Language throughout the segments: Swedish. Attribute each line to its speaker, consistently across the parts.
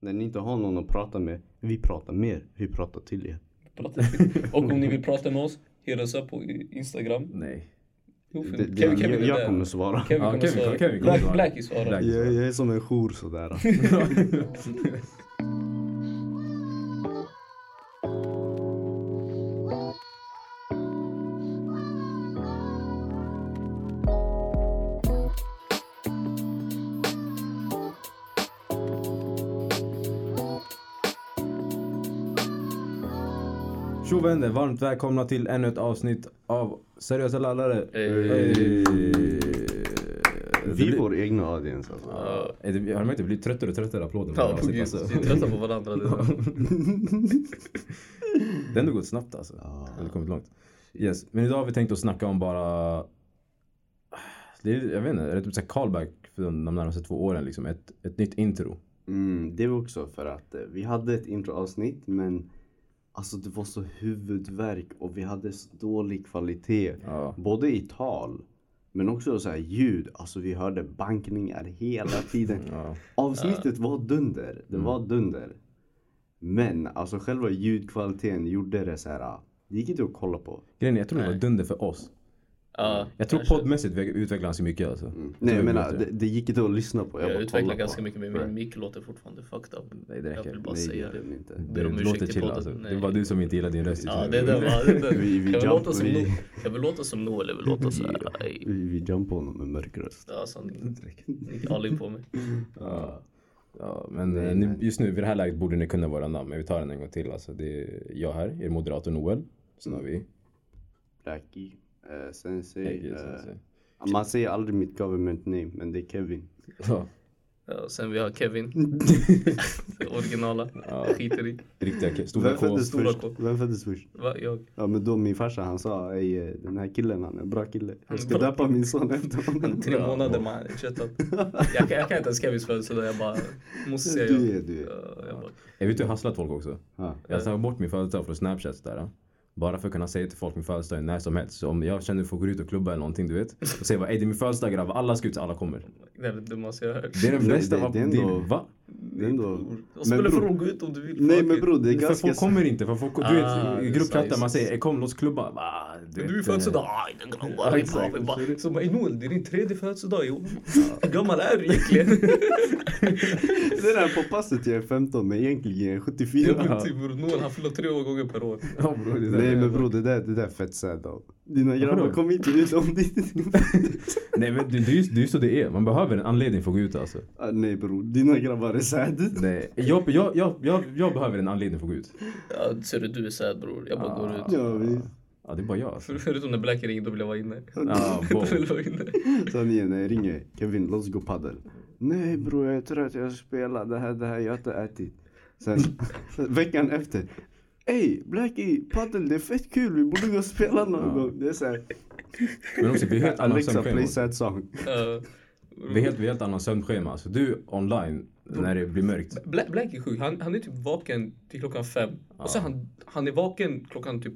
Speaker 1: När ni inte har någon att prata med, vi pratar med er. Vi pratar till er.
Speaker 2: Prata till- Och om ni vill prata med oss, hit oss upp på i- Instagram.
Speaker 3: Nej.
Speaker 2: Jo, för
Speaker 1: Det, det,
Speaker 2: Kevin, Kevin är
Speaker 1: jag, jag
Speaker 2: där.
Speaker 1: kommer svara.
Speaker 2: Kevin
Speaker 3: Ja,
Speaker 2: kommer
Speaker 3: Kevin-
Speaker 2: svara.
Speaker 3: Kevin kommer
Speaker 2: Black,
Speaker 3: svara.
Speaker 2: Black är svaret.
Speaker 3: Black.
Speaker 1: Jag, jag är som en jour sådär.
Speaker 3: Tjo vänner, varmt välkomna till ännu ett avsnitt av Seriösa lallare.
Speaker 2: Hey.
Speaker 3: Hey.
Speaker 1: Vi är vår egna audience alltså.
Speaker 4: Ja,
Speaker 3: Är det- Har man inte blivit tröttare och tröttare applåder? på det här
Speaker 4: ja, på
Speaker 3: avsnittet,
Speaker 4: gud.
Speaker 3: alltså?
Speaker 4: Vi är trötta på varandra. Det är det.
Speaker 3: Det har ändå gått snabbt alltså. Eller kommit långt. Yes. Men idag har vi tänkt att snacka om bara... Det är, jag vet inte, är det typ såhär callback för de de närmaste två åren liksom? Ett, ett nytt intro.
Speaker 1: Mm, det var också för att eh, vi hade ett introavsnitt men alltså det var så huvudvärk och vi hade så dålig kvalitet.
Speaker 3: Ja.
Speaker 1: Både i tal men också så här ljud. Alltså vi hörde bankningar hela tiden.
Speaker 3: Ja.
Speaker 1: Avsnittet var dunder. Det var dunder. Men alltså själva ljudkvaliteten gjorde det så här. ah, Det gick inte att kolla på.
Speaker 3: Grejen är, jag tror det var
Speaker 4: Nej.
Speaker 3: dunder för oss.
Speaker 4: Ja,
Speaker 3: Jag tror
Speaker 4: kanske.
Speaker 3: poddmässigt vi utvecklar ganska mycket alltså.
Speaker 1: Nej jag
Speaker 3: vi
Speaker 1: menar
Speaker 3: vet
Speaker 1: det,
Speaker 3: det.
Speaker 1: det gick inte att lyssna på.
Speaker 4: Jag
Speaker 1: bara
Speaker 4: utvecklar
Speaker 1: kollade
Speaker 4: ganska
Speaker 1: på.
Speaker 4: mycket men min mick låter fortfarande fucked up.
Speaker 3: Nej, det
Speaker 4: Jag
Speaker 3: räcker.
Speaker 4: vill bara
Speaker 1: Nej
Speaker 4: säga
Speaker 1: gör
Speaker 4: det.
Speaker 1: den inte.
Speaker 4: Ber om
Speaker 3: Du
Speaker 4: ursäkt
Speaker 3: låter
Speaker 4: till
Speaker 3: chill
Speaker 4: podden.
Speaker 3: alltså. Det
Speaker 4: Nej.
Speaker 3: var du som inte gillade din röst. liksom.
Speaker 4: Ja, det är den va? Det är den.
Speaker 1: Vi- vi
Speaker 4: jag, vill
Speaker 1: jump-
Speaker 4: låta som
Speaker 1: vi-
Speaker 4: Noel. jag vill låta som Noel, jag vill låta såhär. Ej,
Speaker 1: Vi, vi jumpade honom med mörk röst.
Speaker 4: alltså ni, ni är all in på mig.
Speaker 3: Ja, men eh, ni, just nu vid det här läget borde ni kunna våra namn. Men vi tar den en gång till alltså. Det är jag här, er moderator Noel. Sen har vi
Speaker 1: Blackie. eh, sensei.
Speaker 3: Egil.
Speaker 1: eh,
Speaker 3: sen så-
Speaker 1: Man säger aldrig mitt government name men det är Kevin.
Speaker 3: Ja,
Speaker 4: Ja, sen vi har Kevin. Det originala. Skiter i.
Speaker 3: riktiga
Speaker 1: Mm.
Speaker 3: Ke- stora K.
Speaker 4: Stora K.
Speaker 1: Vem föddes först?
Speaker 4: Va, jag?
Speaker 1: Ja men då min farsa han sa "Ey, eh, den här killen han är en bra kille. Jag ska
Speaker 4: Bra
Speaker 1: döpa min son efter honom.
Speaker 4: Tre månader man, köttat. Jag, kan- jag kan inte ens Kevins födelsedag, jag bara måste säga
Speaker 1: Du är
Speaker 4: jag.
Speaker 1: du. är.
Speaker 4: Ja, jag bara,
Speaker 3: Jag vet hur jag hasslat folk också.
Speaker 1: Ja.
Speaker 3: Jag tar bort min födelsedag från snapchat sådär. ja. Bara för att kunna säga till folk min födelsedag är när som helst. Så om jag känner att folk går ut och klubbar eller någonting du vet. Och säger bara ey det är min födelsedag grabbar, alla ska ut så alla kommer.
Speaker 4: det är det dummaste jag har hört.
Speaker 3: Det är den
Speaker 1: Det-
Speaker 3: bästa
Speaker 1: det-
Speaker 3: va?
Speaker 1: det är
Speaker 3: det-
Speaker 1: ändå-
Speaker 3: Va?
Speaker 1: Det är ändå...
Speaker 4: Och spela
Speaker 1: Men bror-
Speaker 4: för gå ut om du vill.
Speaker 1: Nej
Speaker 4: fuck
Speaker 1: men
Speaker 4: it.
Speaker 1: bror det är
Speaker 3: För
Speaker 1: ganska...
Speaker 3: folk kommer inte. För folk, du vet
Speaker 4: Ah, det
Speaker 3: i
Speaker 4: är
Speaker 3: gruppchatten
Speaker 4: sant.
Speaker 3: man säger ey kom låt oss klubba. Va, du
Speaker 4: Du är
Speaker 3: vet,
Speaker 4: födelsedag,
Speaker 3: eh,
Speaker 4: aj den grabbar, hip hop. Jag bara, Så bara, "Ey, Noel det är din tredje födelsedag i år. Hur gammal är du egentligen?
Speaker 1: Det där på passet jag är 15 men egentligen är jag
Speaker 4: Jag
Speaker 1: 74.
Speaker 4: vet inte Typ, bror, Noel han fyller tre gånger per år.
Speaker 3: Ja, bror, det är
Speaker 1: Nej
Speaker 3: det.
Speaker 1: men bror det där, det där är fett sad av. Dina
Speaker 3: Varför
Speaker 1: grabbar
Speaker 3: då?
Speaker 1: kom inte ut om det inte...
Speaker 3: Nej men det, det, är ju, det är ju så det är. Man behöver en anledning för att gå ut alltså.
Speaker 1: Ah, Nej bror, dina grabbar är sad.
Speaker 3: Nej. Jag, jag, jag, jag, jag behöver en anledning för att gå ut.
Speaker 4: Ja, ser du, du är sad bror. Jag bara går ut.
Speaker 1: Ja visst.
Speaker 3: Ja det är bara jag alltså.
Speaker 4: För- Förutom när Black ringde då vill jag vara inne.
Speaker 3: Ja,
Speaker 4: Då
Speaker 3: wow.
Speaker 4: vill jag vara inne.
Speaker 1: Sanningen är ringer Kevin, låt oss gå padel. Nej bror jag är trött, jag spelar det här, det här, jag har inte ätit. Sen veckan efter. Ey Blackie, padel det är fett kul, vi borde gå och spela någon gång. Det är såhär,
Speaker 3: Men också vi är helt annan
Speaker 1: Alexa play
Speaker 3: sömnschema.
Speaker 1: sad song.
Speaker 4: Ja.
Speaker 3: Vi är helt, vi är helt annan sömnschema. Alltså du online när det blir mörkt.
Speaker 4: Black, Black är sjuk. Han, han är typ vaken till klockan fem. Och sen han, han är vaken klockan typ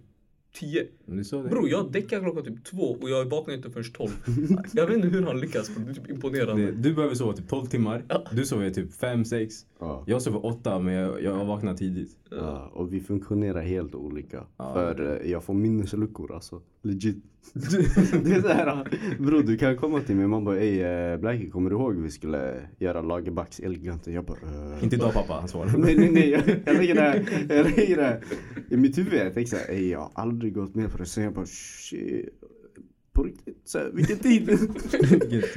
Speaker 4: tio.
Speaker 3: Men det är så det är.
Speaker 4: Bror jag däckar klockan typ två och jag är vaken inte förrän tolv. Jag vet inte hur han lyckas bror. Det är typ imponerande.
Speaker 3: Det- Du behöver sova typ 12 timmar. Du sover typ 5, 6.
Speaker 1: Ja.
Speaker 3: Jag sover 8 men jag, jag vaknar tidigt.
Speaker 1: Ja, och vi funktionerar helt olika. För eh, jag får minnesluckor alltså. Legit. det är såhär, bror du kan komma till mig man bara ey eh, Blackie kommer du ihåg vi skulle göra Lagerbacks Elgiganten? Jag bara eh,
Speaker 3: Inte idag pappa, han svarar.
Speaker 1: Nej, nej, nej. Jag, jag lägger det här. Jag lägger det här. I mitt huvud jag tänker såhär, "Ey, jag har aldrig gått med på det. Sen jag bara, shit. På riktigt? Så här, vilken tid?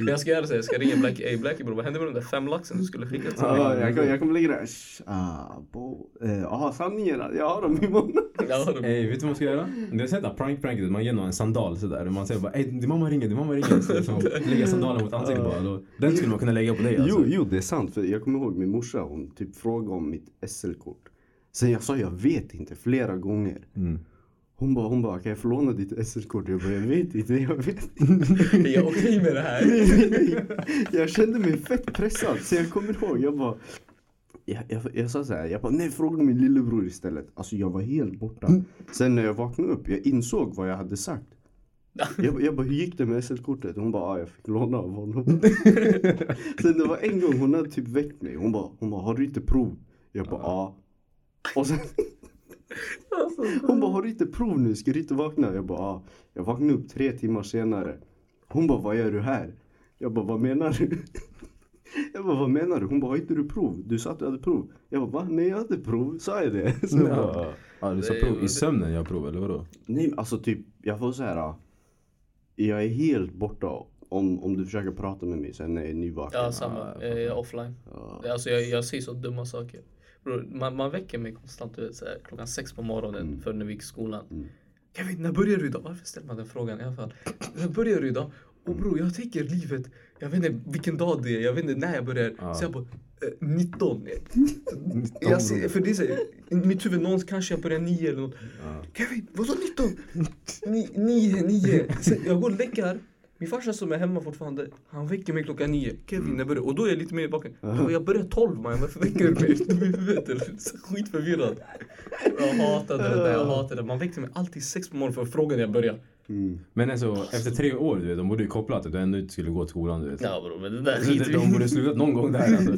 Speaker 4: Jag ska göra så här, jag ska ringa Black A. Black bror, vad hände med den där fem laxen du skulle skicka till mig?
Speaker 1: Ja, jag, kommer- jag kommer lägga det här. Sh- Ah, bo. Eh, Ja, sanningen. Jag har dem i munnen.
Speaker 4: Jag har dem.
Speaker 3: Ey, vet du vad man ska göra? Ni har sett det här prank-pranket, man ger någon en sandal sådär. Man säger bara ey din mamma ringer, din mamma ringer. Så liksom, lägger sandalen mot ansiktet bara. Då, den skulle man kunna lägga på dig alltså.
Speaker 1: Jo, jo, det är sant. För jag kommer ihåg min morsa. Hon typ frågade om mitt SL-kort. Sen jag sa, jag vet inte, flera gånger.
Speaker 3: Mm.
Speaker 1: Hon bara, hon bara, kan jag få låna ditt SL-kort? Jag bara, jag vet inte, jag vet inte.
Speaker 4: Är jag okej med det här?
Speaker 1: jag kände mig fett pressad så jag kommer ihåg, jag bara jag, jag, jag sa såhär, jag bara nej fråga min lillebror istället. Alltså jag var helt borta. Sen när jag vaknade upp, jag insåg vad jag hade sagt. Jag, jag bara, hur gick det med SL-kortet? Hon bara, ah, jag fick låna av honom. Sen det var en gång hon hade typ väckt mig. Hon bara, hon bara har du inte prov? Jag bara ja. Och sen hon bara har du inte prov nu? Ska du inte vakna? Jag bara ja. Jag vaknade upp tre timmar senare. Hon bara vad gör du här? Jag bara vad menar du? Jag bara vad menar du? Hon bara har inte du prov? Du sa att du hade prov. Jag bara va? Nej jag hade prov. Sa jag det? Så jag bara,
Speaker 3: Ja. Ja, du sa prov i sömnen jag prov eller vadå?
Speaker 1: Nej, men alltså typ, jag får så här. ah, Jag är helt borta om, om du försöker prata med mig sen när jag är nyvaken.
Speaker 4: Ja, samma. Eh, Jag är offline.
Speaker 1: Ja.
Speaker 4: Alltså jag, jag säger så dumma saker. Bror, man, man väcker mig konstant du vet, så här, klockan sex på morgonen för när vi gick i skolan. Kevin, när börjar du idag? Varför ställer man den frågan i alla fall? När börjar du idag? Och bror, jag tänker livet. Jag vet inte vilken dag det är. Jag vet inte när jag börjar. Så jag bara, eh, 19. Jag ser, för det är så, här, i mitt huvud någons kanske jag börjar 9 eller något. Kevin, vadå 19? 9, 9. Jag går och lägger. Min farsa som är hemma fortfarande, han väcker mig klockan nio. Kevin, när börjar Och då är jag lite mer vaken. Och jag börjar tolv man, varför väcker du mig? Du är i huvudet eller? Så Skitförvirrad. Jag hatade det där, jag hatade det. Man väckte mig alltid sex på morgonen för att fråga när jag börjar.
Speaker 3: Men alltså efter tre år du vet, de borde ju kopplat att du ändå inte skulle gå till skolan du vet.
Speaker 4: Ja bror, men det där
Speaker 3: De-
Speaker 4: skiter vi
Speaker 3: De
Speaker 4: i.
Speaker 3: borde slutat någon gång där alltså.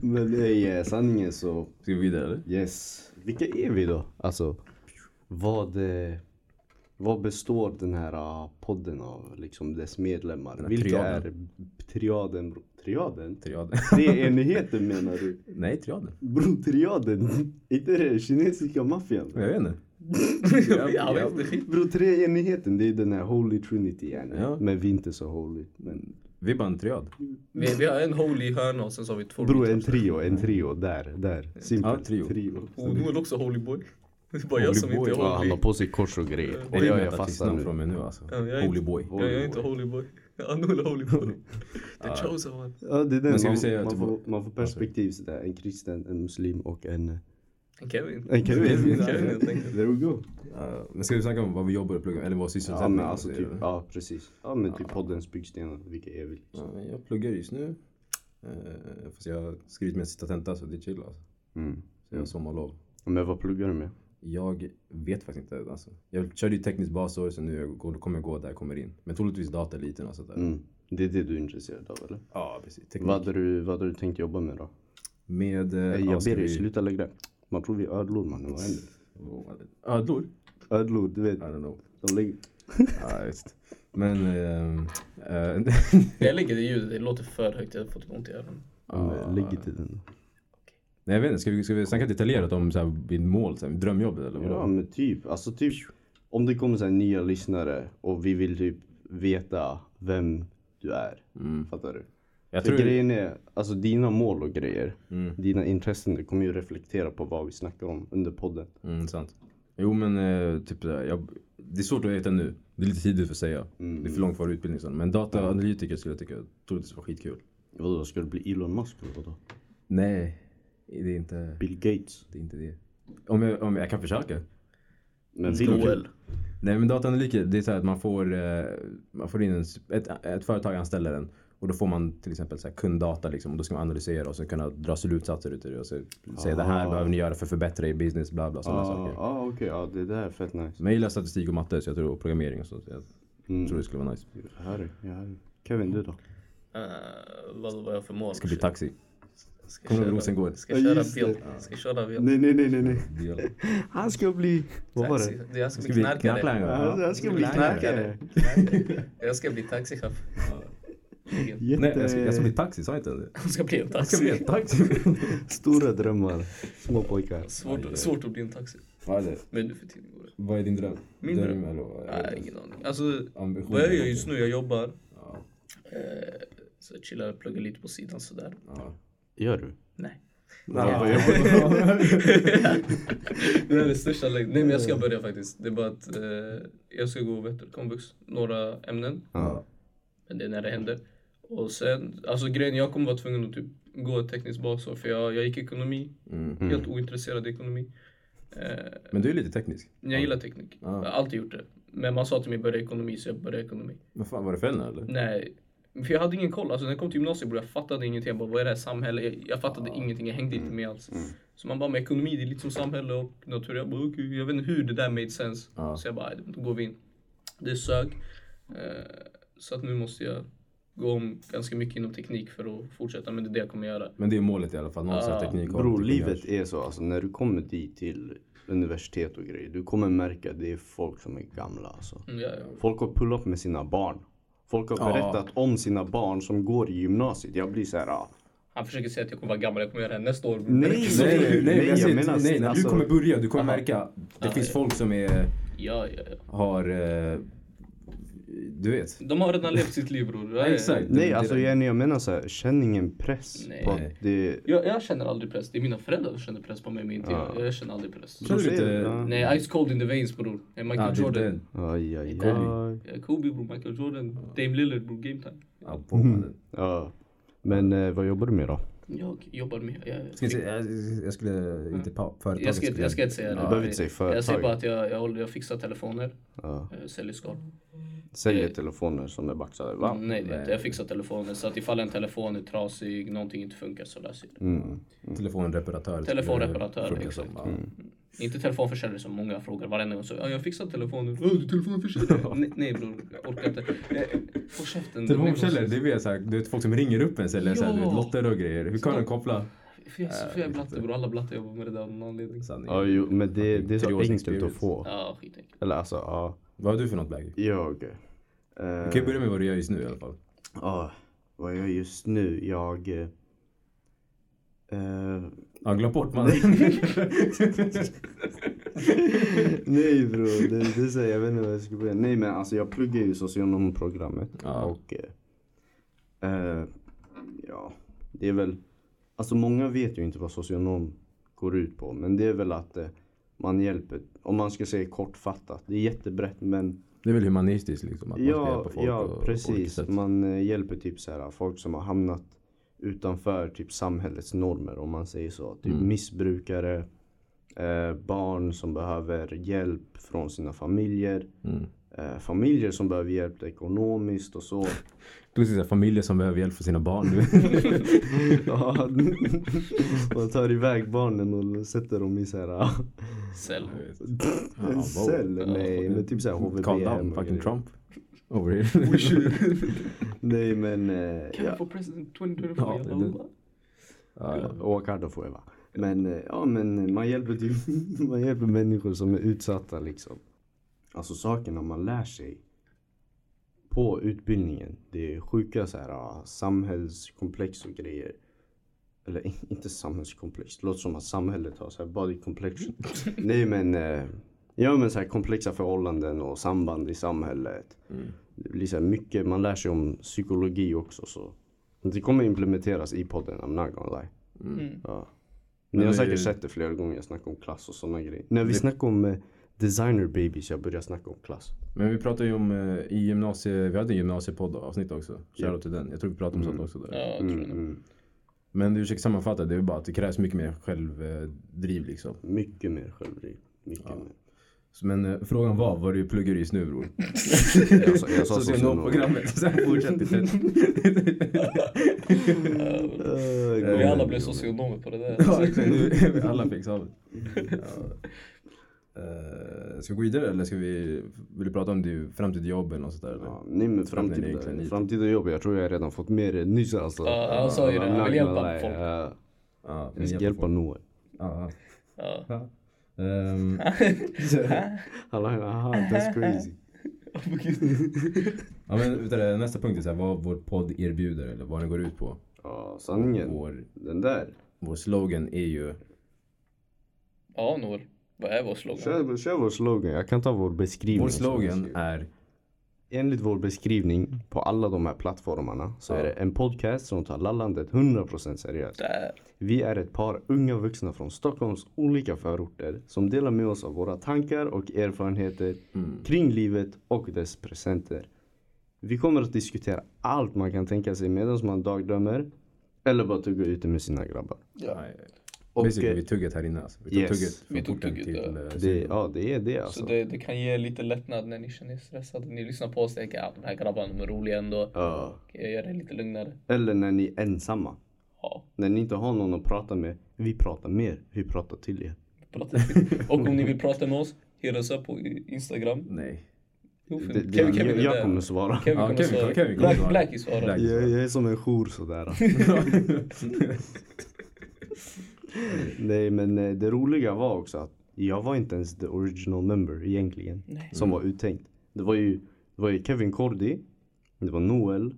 Speaker 1: Men nej, eh, sanningen så,
Speaker 3: Ska vi vidare eller?
Speaker 1: yes. Vilka är vi då? Alltså, vad, eh, vad består den här ah, podden av? Liksom dess medlemmar.
Speaker 3: här
Speaker 1: Vilka
Speaker 3: triaden.
Speaker 1: är triaden? bro? Triaden?
Speaker 3: Triaden.
Speaker 1: Treenigheten menar du?
Speaker 3: Nej, triaden.
Speaker 1: Bro, triaden? Är inte det kinesiska maffian?
Speaker 3: Jag vet inte.
Speaker 4: Jag vet inte, skit.
Speaker 1: Bro, treenigheten det är den här holy trinity yani.
Speaker 3: Ja.
Speaker 1: Men vi är inte så holy. Men
Speaker 3: Vi är bara en triad.
Speaker 4: Vi, vi har en holy hörna och sen så har vi två
Speaker 1: bro, en trio, en trio. Där, där. Simpelt.
Speaker 3: Ja, trio.
Speaker 4: Och Noel också holy boy. Det är bara jag
Speaker 3: Holy
Speaker 4: som inte
Speaker 3: boy.
Speaker 4: är
Speaker 1: Ja, han
Speaker 4: holy.
Speaker 1: har på sig kors och grejer. Och
Speaker 3: Det är
Speaker 1: jag
Speaker 3: mitt
Speaker 1: är fast
Speaker 3: artistnamn
Speaker 1: nu.
Speaker 3: från mig nu alltså.
Speaker 4: Ja, jag är
Speaker 3: Holy
Speaker 4: inte-
Speaker 3: boy.
Speaker 4: Jag är inte holy boy. Ja, Noel är holy boy. The chosen one.
Speaker 1: Ja, det är den.
Speaker 3: Men ska vi
Speaker 1: Man,
Speaker 3: säga
Speaker 1: man,
Speaker 3: typ-
Speaker 1: får, man får perspektiv sådär. En kristen, en muslim och en...
Speaker 4: Kevin.
Speaker 1: En
Speaker 4: Kevin,
Speaker 1: kevin.
Speaker 4: helt enkelt.
Speaker 1: There we go.
Speaker 3: Ja, Men ska vi snacka om vad vi jobbar och pluggar? Eller vad
Speaker 1: Ja
Speaker 3: sysselsättningen
Speaker 1: men alltså
Speaker 3: är,
Speaker 1: typ,
Speaker 3: eller?
Speaker 1: ja precis. Ja men typ poddens byggstenar, vilka är vi?
Speaker 3: Ja, men Jag pluggar just nu. Eh, Fast jag har skrivit min sista tenta så det är chill alltså.
Speaker 1: Mm.
Speaker 3: Så jag har sommarlov.
Speaker 1: Men vad pluggar du med?
Speaker 3: Jag vet faktiskt inte. Alltså. Jag körde ju tekniskt basår så nu jag går- kommer jag gå där jag kommer in. Men troligtvis data lite och sånt där.
Speaker 1: Mm. Det är det du är intresserad av eller?
Speaker 3: Ja, precis. Teknik.
Speaker 1: Vad hade du, vad hade du tänkt jobba med då?
Speaker 3: Med... eh,
Speaker 1: Nej,
Speaker 3: ja,
Speaker 1: jag
Speaker 3: ska
Speaker 1: ber dig,
Speaker 3: vi-
Speaker 1: sluta lägga det. Man tror vi är ödlor mannen, vad händer?
Speaker 3: Ödlor?
Speaker 1: Ödlor, du vet.
Speaker 3: I don't know.
Speaker 1: De lägger...
Speaker 3: Ja, just. Men... ehm, eh,
Speaker 4: Jag lägger det ljudet, det låter för högt. Jag har fått ont i öronen.
Speaker 1: de lägger till den.
Speaker 3: nej, jag vet inte, ska vi, ska vi snacka detaljerat om så här, mitt mål, så här, mitt drömjobb eller vadå?
Speaker 1: Ja men typ, alltså typ. Om det kommer så här nya lyssnare och vi vill typ veta vem du är. Fattar du?
Speaker 3: Mm. jag
Speaker 1: För
Speaker 3: tror... Mm.
Speaker 1: grejen är, alltså dina mål och grejer, dina intressen, det kommer ju reflektera på vad vi snackar om under podden.
Speaker 3: Mm, sant. Jo men eh, typ sådär, jag, det är svårt att veta nu. Det är lite tidigt för att säga. Det är för långt kvar i utbildningen. sen. Men dataanalytiker skulle jag tycka troligtvis var skitkul.
Speaker 1: Vadå, ska det bli Elon Musk eller vadå?
Speaker 3: Nej, det är inte
Speaker 1: Bill Gates?
Speaker 3: det. Är inte det. Om, jag, om jag, jag kan försöka.
Speaker 1: Men
Speaker 4: Noel.
Speaker 3: Nej men dataanalytiker, det är så här att man får, eh, man får in en, s- ett, ett företag anställer en. Och då får man till exempel så här kunddata liksom, och då ska man analysera och så kunna dra slutsatser utav det. Och så, säga det här behöver ni göra för att förbättra er business, bla bla sådana
Speaker 1: Ja,
Speaker 3: saker.
Speaker 1: ah, okej, ja det där är fett nice.
Speaker 3: Men jag gillar statistik och matte så jag tror, och programmering och sånt. Jag
Speaker 1: Mm.
Speaker 3: tror det skulle vara nice. Det
Speaker 1: Jag hör dig, jag hör dig. Kevin, du då?
Speaker 4: Eh, vad var jag för mål?
Speaker 3: ska bli taxi.
Speaker 4: Ska
Speaker 3: Kommer
Speaker 4: köra-
Speaker 3: ihåg Rosengård?
Speaker 4: Ska
Speaker 1: Ja,
Speaker 4: köra
Speaker 1: just det.
Speaker 4: bil. Ska köra bil.
Speaker 1: Nej, nej, nej, nej, nej.
Speaker 3: Ja.
Speaker 1: Han ska bli... Vad var det?
Speaker 4: Taxi. Jag ska
Speaker 3: Ska
Speaker 4: bli
Speaker 3: vi
Speaker 4: knarkare.
Speaker 3: knarklangare?
Speaker 1: Ja, Han ska bli knarkare.
Speaker 4: Jag ska bli taxichaufför.
Speaker 1: Jätte...
Speaker 3: Nej, jag ska, jag ska bli taxi, sa jag inte det?
Speaker 4: Jag ska bli en
Speaker 3: Jag ska bli
Speaker 4: taxi.
Speaker 3: en taxi.
Speaker 1: Stora drömmar, små pojkar.
Speaker 4: Svårt, svårt att bli en taxi.
Speaker 3: vad, är det?
Speaker 4: Men nu för tiden går det.
Speaker 3: vad är din dröm?
Speaker 4: Min dröm?
Speaker 3: eller vad?
Speaker 4: Nej, ingen aning. Alltså,
Speaker 3: Ambition.
Speaker 4: vad jag gör just nu, jag jobbar. Eh, så jag chillar och pluggar lite på sidan sådär.
Speaker 3: Ja.
Speaker 1: Gör du?
Speaker 4: Nej.
Speaker 3: Ja.
Speaker 4: Det är det största längden. Nej men jag ska börja faktiskt. Det är bara att eh, jag ska gå vet du, komvux, några ämnen.
Speaker 1: Ja.
Speaker 4: Men det är när det händer. Och sen, alltså grejen jag kommer vara tvungen att typ gå ett tekniskt basår för jag, jag gick ekonomi. Helt ointresserad i ekonomi. Eh,
Speaker 3: Mm. Men du är lite teknisk.
Speaker 4: men jag gillar teknik. Jag har alltid gjort det. Men man sa till mig börja ekonomi så jag började ekonomi.
Speaker 3: Men fan, var det föräldrarna eller?
Speaker 4: Nej. För jag hade ingen koll. Alltså när jag kom till gymnasiet bror, jag fattade ingenting. Jag bara, vad är det här samhället? Jag, jag fattade ingenting. Jag hängde
Speaker 3: Mm.
Speaker 4: inte med alls. Så man bara, med ekonomi det är lite som samhälle och natur. Jag bara, okej, jag vet inte hur det där made sense. Så jag bara, "Aj, då går vi in. Det sög. Eh, så att nu måste jag gå om ganska mycket inom teknik för att fortsätta. Men det är det jag kommer göra.
Speaker 3: Men det är målet i alla fall. Någon
Speaker 4: Ja,
Speaker 3: sorts teknik. och
Speaker 1: Bror, livet
Speaker 3: ingenjörs.
Speaker 1: är så. Alltså, när du kommer dit till universitet och grejer. Du kommer märka att det är folk som är gamla. Alltså.
Speaker 4: Mm, ja, ja.
Speaker 1: Folk har pullat med sina barn. Folk har
Speaker 3: Ja.
Speaker 1: berättat om sina barn som går i gymnasiet. Jag blir så här. Ah,
Speaker 4: Han försöker säga att jag kommer vara gammal, jag kommer göra det här nästa år.
Speaker 1: Nej,
Speaker 3: Nej, nej, nej,
Speaker 1: Nej,
Speaker 3: jag
Speaker 1: jag
Speaker 3: säger-
Speaker 1: menar-
Speaker 3: nej, när
Speaker 1: alltså-
Speaker 3: du kommer börja, du kommer
Speaker 4: Aha.
Speaker 3: märka. Det
Speaker 4: Ja,
Speaker 3: finns
Speaker 4: ja.
Speaker 3: folk som är,
Speaker 4: Ja, ja, ja.
Speaker 3: har, eh, du vet.
Speaker 4: De har redan levt sitt liv bror.
Speaker 3: Ja,
Speaker 4: Jag,
Speaker 3: exakt. Det-
Speaker 1: nej,
Speaker 3: det-
Speaker 1: alltså Jenny, jag menar så här. Känn ingen press
Speaker 4: Nej.
Speaker 1: på att det...
Speaker 4: Jag, jag känner aldrig press. Det är mina föräldrar som känner press på mig, men inte jag. Jag känner aldrig press.
Speaker 3: Känner du
Speaker 1: Säger
Speaker 3: inte-
Speaker 1: det, ja.
Speaker 4: Nej, Ice Cold in the Veins bror. Eh, Michael
Speaker 3: Ah, det är
Speaker 4: Jordan.
Speaker 3: den.
Speaker 1: Aj, aj,
Speaker 4: Kobe.
Speaker 1: aj.
Speaker 4: Ja, Kobe bror, Michael Jordan, Dame Lillard bror, game time.
Speaker 3: Ja, på
Speaker 1: Mm.
Speaker 3: mannen.
Speaker 1: Ja. Men eh, vad jobbar du med då?
Speaker 4: Jag jobbar med... Jag,
Speaker 3: Ska jag, säga- jag- jag skulle inte pa, företaget
Speaker 4: jag, ska,
Speaker 3: skulle-
Speaker 4: jag ska inte säga det.
Speaker 1: Du behöver inte säga
Speaker 4: Jag säger
Speaker 1: företag.
Speaker 4: bara att jag, jag, håller, jag fixar telefoner,
Speaker 1: Ja.
Speaker 4: eh, säljer skal.
Speaker 1: Säljer telefoner som är baxade, va?
Speaker 4: Nej, det är inte. jag fixar telefoner. Så att ifall en telefon är trasig, någonting inte funkar så löser jag det.
Speaker 1: Mm.
Speaker 3: Telefonreparatör.
Speaker 4: Telefonreparatör,
Speaker 3: skulle det
Speaker 4: exakt.
Speaker 3: funka som,
Speaker 4: Inte telefonförsäljare som många frågar varenda gång. Så, ja, jag fixar telefonen. Åh, du är telefonförsäljare? nej, nej bror, jag orkar inte. Få käften.
Speaker 3: ja. Telefonförsäljare, det är mer såhär, du vet folk som ringer upp en säljer såhär, du vet
Speaker 4: Ja.
Speaker 3: lotter och grejer. Hur kan de koppla?
Speaker 4: För jag är så för jag är blatte bror, alla blatte jobbar med det där av någon anledning.
Speaker 3: Sanningen.
Speaker 1: Ja, jo, men det, det är
Speaker 3: Three
Speaker 1: så
Speaker 3: years
Speaker 1: enkelt att
Speaker 3: experience.
Speaker 1: få.
Speaker 4: Ja, skitenkelt.
Speaker 1: Eller alltså, ja.
Speaker 3: Vad har du för något läge?
Speaker 1: Jag... Eh,
Speaker 3: Du kan ju börja med vad du gör just nu i alla fall.
Speaker 1: Ja, vad jag gör just nu? Jag... eh, eh,
Speaker 3: Ja, glöm bort mannen.
Speaker 1: nej bror, det, det är så här, jag vet inte vad jag ska börja. Nej men alltså jag pluggar ju socionomprogrammet.
Speaker 3: Ja.
Speaker 1: Och... Eh, eh, ja, det är väl... Alltså många vet ju inte vad socionom går ut på. Men det är väl att eh, man hjälper, om man ska säga kortfattat. Det är jättebrett men
Speaker 3: Det är väl humanistiskt liksom? Att man ska hjälpa folk
Speaker 1: ja,
Speaker 3: och- och
Speaker 1: precis.
Speaker 3: olika sätt.
Speaker 1: Man eh, hjälper typ så här, folk som har hamnat utanför typ samhällets normer om man säger så. Typ
Speaker 3: Mm.
Speaker 1: missbrukare, eh, barn som behöver hjälp från sina familjer.
Speaker 3: Mm.
Speaker 1: Eh, familjer som behöver hjälp ekonomiskt och så.
Speaker 3: Precis, så här, familjer som behöver hjälp för sina barn.
Speaker 1: Ja, man tar iväg barnen och sätter dem i så här,
Speaker 4: Sälj.
Speaker 3: Ja,
Speaker 1: en
Speaker 3: wow.
Speaker 1: cell. Nej, men typ så här
Speaker 3: Calm
Speaker 1: HVB-hem.
Speaker 3: down,
Speaker 1: och
Speaker 3: fucking
Speaker 1: grejer.
Speaker 3: Trump. Over here.
Speaker 1: Nej men. Eh,
Speaker 4: Kan
Speaker 1: ja.
Speaker 4: vi få president
Speaker 3: Ja,
Speaker 4: 2024?
Speaker 3: det-
Speaker 4: Jag bara,
Speaker 3: ja,
Speaker 1: Åkardo får jag va. Men, eh, ja, men man, hjälper typ, man hjälper människor som är utsatta liksom. Alltså sakerna man lär sig på utbildningen. Det är sjuka så här, ah, samhällskomplex och grejer. Eller in- inte samhällskomplex. Det låter som att samhället har så här body complexion. Nej men. eh, Ja men så här komplexa förhållanden och samband i samhället.
Speaker 3: Mm.
Speaker 1: Det blir så här mycket. Man lär sig om psykologi också. Så. Det kommer implementeras i podden. I'm not gonna lie.
Speaker 4: Mm.
Speaker 1: Ja.
Speaker 3: Men
Speaker 1: Ni har
Speaker 3: det-
Speaker 1: säkert sett det flera gånger, jag snackar om klass och sådana grejer. När vi snackade om eh, designer babies, jag började snacka om klass.
Speaker 3: Men vi pratade ju om eh, i gymnasie, vi hade en gymnasiepodd avsnitt också. Shoutout till den. Jag tror vi pratade om
Speaker 1: Mm.
Speaker 3: sånt också där.
Speaker 4: Ja, jag tror det.
Speaker 3: Men du försöker sammanfatta, det är ju bara att det krävs mycket mer självdriv liksom.
Speaker 1: Mycket mer självdriv. Mycket mer.
Speaker 3: Så, Men eh, frågan var vad du pluggar just nu bror.
Speaker 1: Jag sa, jag sa socionom.
Speaker 3: Socionomprogrammet. Sen fortsätter vi.
Speaker 1: Eh,
Speaker 4: Vi alla blev socionomer på det där.
Speaker 3: Ja, exakt. Nu är vi alla på examen. Ja. Eh, Ska vi gå vidare eller ska vi, vill du prata om din framtida jobb eller något sånt där? Eller?
Speaker 1: Ja, nej men
Speaker 3: Öppnar ni egentligen
Speaker 1: framtida,
Speaker 3: lite?
Speaker 1: framtida jobb, jag tror jag redan fått mer eh, nyss alltså.
Speaker 4: Ja, han sa ju det, han vill
Speaker 1: I'm not gonna
Speaker 4: hjälpa
Speaker 1: lie.
Speaker 4: folk.
Speaker 1: Ja,
Speaker 3: Ja,
Speaker 1: jag ska hjälpa Noel.
Speaker 3: Ja,
Speaker 4: Ja.
Speaker 3: ja. Ehm,
Speaker 1: Han bara, aha, that's crazy.
Speaker 3: ja, men, vet du det, nästa punkt är så här, vad vår podd erbjuder eller vad den går ut på.
Speaker 1: Ja, sanningen.
Speaker 3: Vår,
Speaker 1: Den där.
Speaker 3: vår slogan är ju
Speaker 4: Ja, Noel. Vad är vår slogan?
Speaker 1: Kör, kör vår slogan, jag kan ta vår beskrivning.
Speaker 3: Vår
Speaker 1: som jag skriver.
Speaker 3: slogan är
Speaker 1: Enligt vår beskrivning på alla de här plattformarna så är det en podcast som tar lallandet 100% seriöst.
Speaker 4: Där.
Speaker 1: Vi är ett par unga vuxna från Stockholms olika förorter som delar med oss av våra tankar och erfarenheter
Speaker 3: mm,
Speaker 1: kring livet och dess presenter. Vi kommer att diskutera allt man kan tänka sig medan man dagdrömmer eller bara tugga ute med sina grabbar.
Speaker 3: nej,
Speaker 1: Och,
Speaker 3: basically
Speaker 1: eh,
Speaker 3: vi tugget här inne alltså. Vi tog
Speaker 1: yes.
Speaker 3: tugget från
Speaker 4: Vi tog
Speaker 3: porten
Speaker 4: tugget,
Speaker 3: till
Speaker 4: ja.
Speaker 3: eh,
Speaker 1: det, ja, det är det
Speaker 4: Så
Speaker 1: alltså.
Speaker 4: det, det kan ge lite lättnad när ni känner er stressade. Ni lyssnar på oss och tänker att de här grabbarna de är roliga ändå.
Speaker 1: Ja.
Speaker 4: Jag gör det lite lugnare.
Speaker 1: Eller när ni är ensamma.
Speaker 4: Ja.
Speaker 1: När ni inte har någon att prata med. Vi pratar med er. Vi pratar till er.
Speaker 4: prata till- Och om ni vill prata med oss, hit oss upp på Instagram.
Speaker 3: Nej.
Speaker 4: Jo, för
Speaker 1: Det, det,
Speaker 4: Kevin, Kevin
Speaker 1: jag,
Speaker 4: är
Speaker 1: jag
Speaker 4: där.
Speaker 1: kommer svara.
Speaker 4: Kevin
Speaker 3: Ja,
Speaker 4: kommer
Speaker 3: Kevin-
Speaker 4: svara.
Speaker 3: Kevin kommer
Speaker 4: Black,
Speaker 3: svara.
Speaker 4: Blackie svarar.
Speaker 3: Black.
Speaker 1: Jag, jag är som en jour sådär. Nej men eh, det roliga var också att jag var inte ens the original member egentligen.
Speaker 4: Nej.
Speaker 1: Som var uttänkt. Det var ju, det var ju Kevin Cordy, det var Noel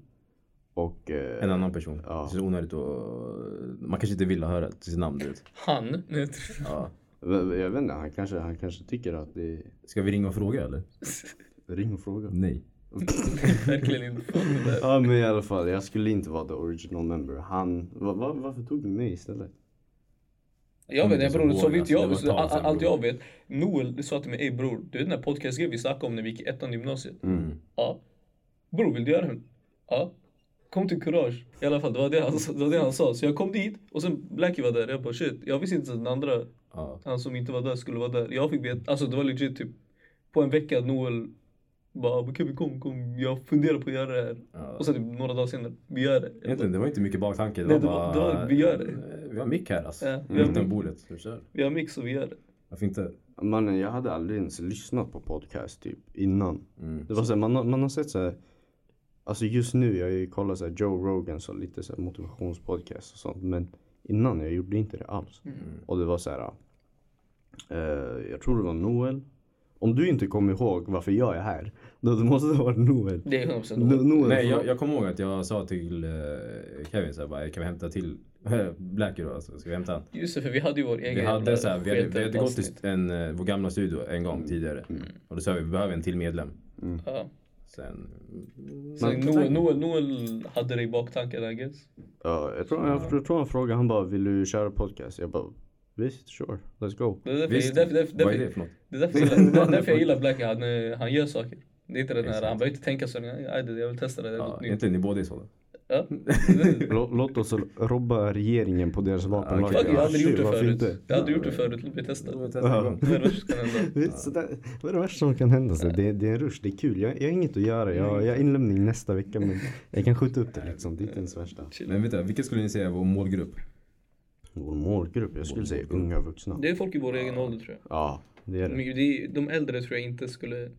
Speaker 1: och... Eh,
Speaker 3: En annan person.
Speaker 1: Ja.
Speaker 3: Det är så onödigt att... Man kanske inte vill höra till sitt namn, du vet.
Speaker 5: Han? Nej,
Speaker 3: Ja.
Speaker 1: v- jag vet inte, han kanske, han kanske tycker att det är...
Speaker 3: Ska vi ringa och fråga eller?
Speaker 1: Ring och fråga.
Speaker 3: Nej.
Speaker 5: verkligen inte. Fan, det där.
Speaker 1: Ja men i alla fall, jag skulle inte vara the original member. Han... Va, va, varför tog ni mig istället?
Speaker 4: Jag vet inte
Speaker 3: Som
Speaker 4: bror,
Speaker 3: går,
Speaker 4: så vitt
Speaker 3: alltså, det var
Speaker 4: jag,
Speaker 3: ett
Speaker 4: så,
Speaker 3: tag
Speaker 4: all,
Speaker 3: sedan,
Speaker 4: allt
Speaker 3: bror.
Speaker 4: jag vet. Noel sa till mig, ey bror, du vet den där podcastgrejen vi snackade om när vi gick i ettan i gymnasiet?
Speaker 3: Mm.
Speaker 4: Ja. Bror, vill du göra den? Ja. Kom till Courage. I alla fall, det var det, han, det var det han sa. Så jag kom dit och sen Blackie var där. Jag bara shit, jag visste inte att den andra,
Speaker 3: Ja.
Speaker 4: han som inte var där, skulle vara där. Jag fick veta, alltså det var legit typ på en vecka Noel bara, "Men Kevin kom, kom, jag funderar på att göra det här.
Speaker 3: Ja.
Speaker 4: Och sen typ några dagar senare, vi gör det. Jag bara,
Speaker 3: Egentligen, det var inte mycket baktanke. Det
Speaker 4: Nej,
Speaker 3: var bara...
Speaker 4: det var- det var- vi gör det.
Speaker 3: Eh, Vi har mick här alltså.
Speaker 4: Ja, vi har
Speaker 3: Utan
Speaker 4: mick.
Speaker 3: bordet. Så vi kör.
Speaker 4: Vi har mix och vi gör det.
Speaker 3: Varför inte? Mm.
Speaker 1: Mannen jag hade aldrig ens lyssnat på podcast typ innan.
Speaker 3: Mm.
Speaker 1: Det var så här, man, har- man har sett så här, Alltså just nu, jag kollar så här Joe Rogans och lite så här motivationspodcast och sånt. Men innan jag gjorde inte det alls.
Speaker 3: Mm.
Speaker 1: Och det var så här. eh, jag tror det var Noel. Om du inte kommer ihåg varför jag är här. Då det måste det ha varit Noel.
Speaker 5: Det är 100%
Speaker 1: No, Noel
Speaker 3: Nej, jag, jag kommer ihåg att jag sa till eh, Kevin så här, bara, kan vi hämta till Blackie då? Alltså, ska vi hämta han?
Speaker 5: Just det, för vi hade ju vår egen
Speaker 3: Vi hade,
Speaker 5: jävla
Speaker 3: så här, vi hade, vi hade gått till
Speaker 5: skitavsnitt.
Speaker 3: en, eh, vår gamla studio en gång tidigare.
Speaker 4: Mm.
Speaker 3: Och då sa vi, vi behöver en till medlem.
Speaker 5: Ja.
Speaker 3: Sen,
Speaker 4: Så
Speaker 1: Men-
Speaker 4: Noel, Noel, Noel hade det i baktanken I guess.
Speaker 1: ja, jag, tror, jag, jag tror han frågade, han bara vill du köra podcast? Jag bara visst, sure, let's go.
Speaker 4: Det är därför,
Speaker 3: visst,
Speaker 4: det är därför, därför,
Speaker 3: vad är
Speaker 4: därför,
Speaker 3: det för något?
Speaker 4: det är därför, jag gillar- det är därför jag gillar Blackie. Han, eh, han gör saker. Det är inte den här,
Speaker 3: Exakt.
Speaker 4: han behöver inte tänka så. "Nej, aj då, Jag vill testa det, det är något
Speaker 3: Ja,
Speaker 4: nytt.
Speaker 3: egentligen, ni båda är sådana.
Speaker 4: Ja.
Speaker 1: Lå- Låt oss robba regeringen på deras vapenlagar.
Speaker 4: Fuck, jag hade aldrig gjort det
Speaker 1: Varför
Speaker 4: förut.
Speaker 1: inte?
Speaker 4: Jag hade gjort det förut. Låt mig testa.
Speaker 3: Då
Speaker 4: Det
Speaker 3: testar vi
Speaker 1: Ja.
Speaker 3: igång.
Speaker 4: är det värsta som kan hända.
Speaker 1: Det är så där- Vad är det värsta som kan hända? Så det, det är en rush, det är kul. Jag, jag har inget att göra. Jag, jag har inlämning nästa vecka men jag kan skjuta upp det liksom. Det är inte ens värsta.
Speaker 3: Men vänta, vilken skulle ni säga är vår målgrupp?
Speaker 1: Vår målgrupp, jag skulle säga unga vuxna.
Speaker 4: Det är folk i vår egen ålder tror jag.
Speaker 1: Ja, det är det.
Speaker 4: Men det är- De äldre tror jag inte skulle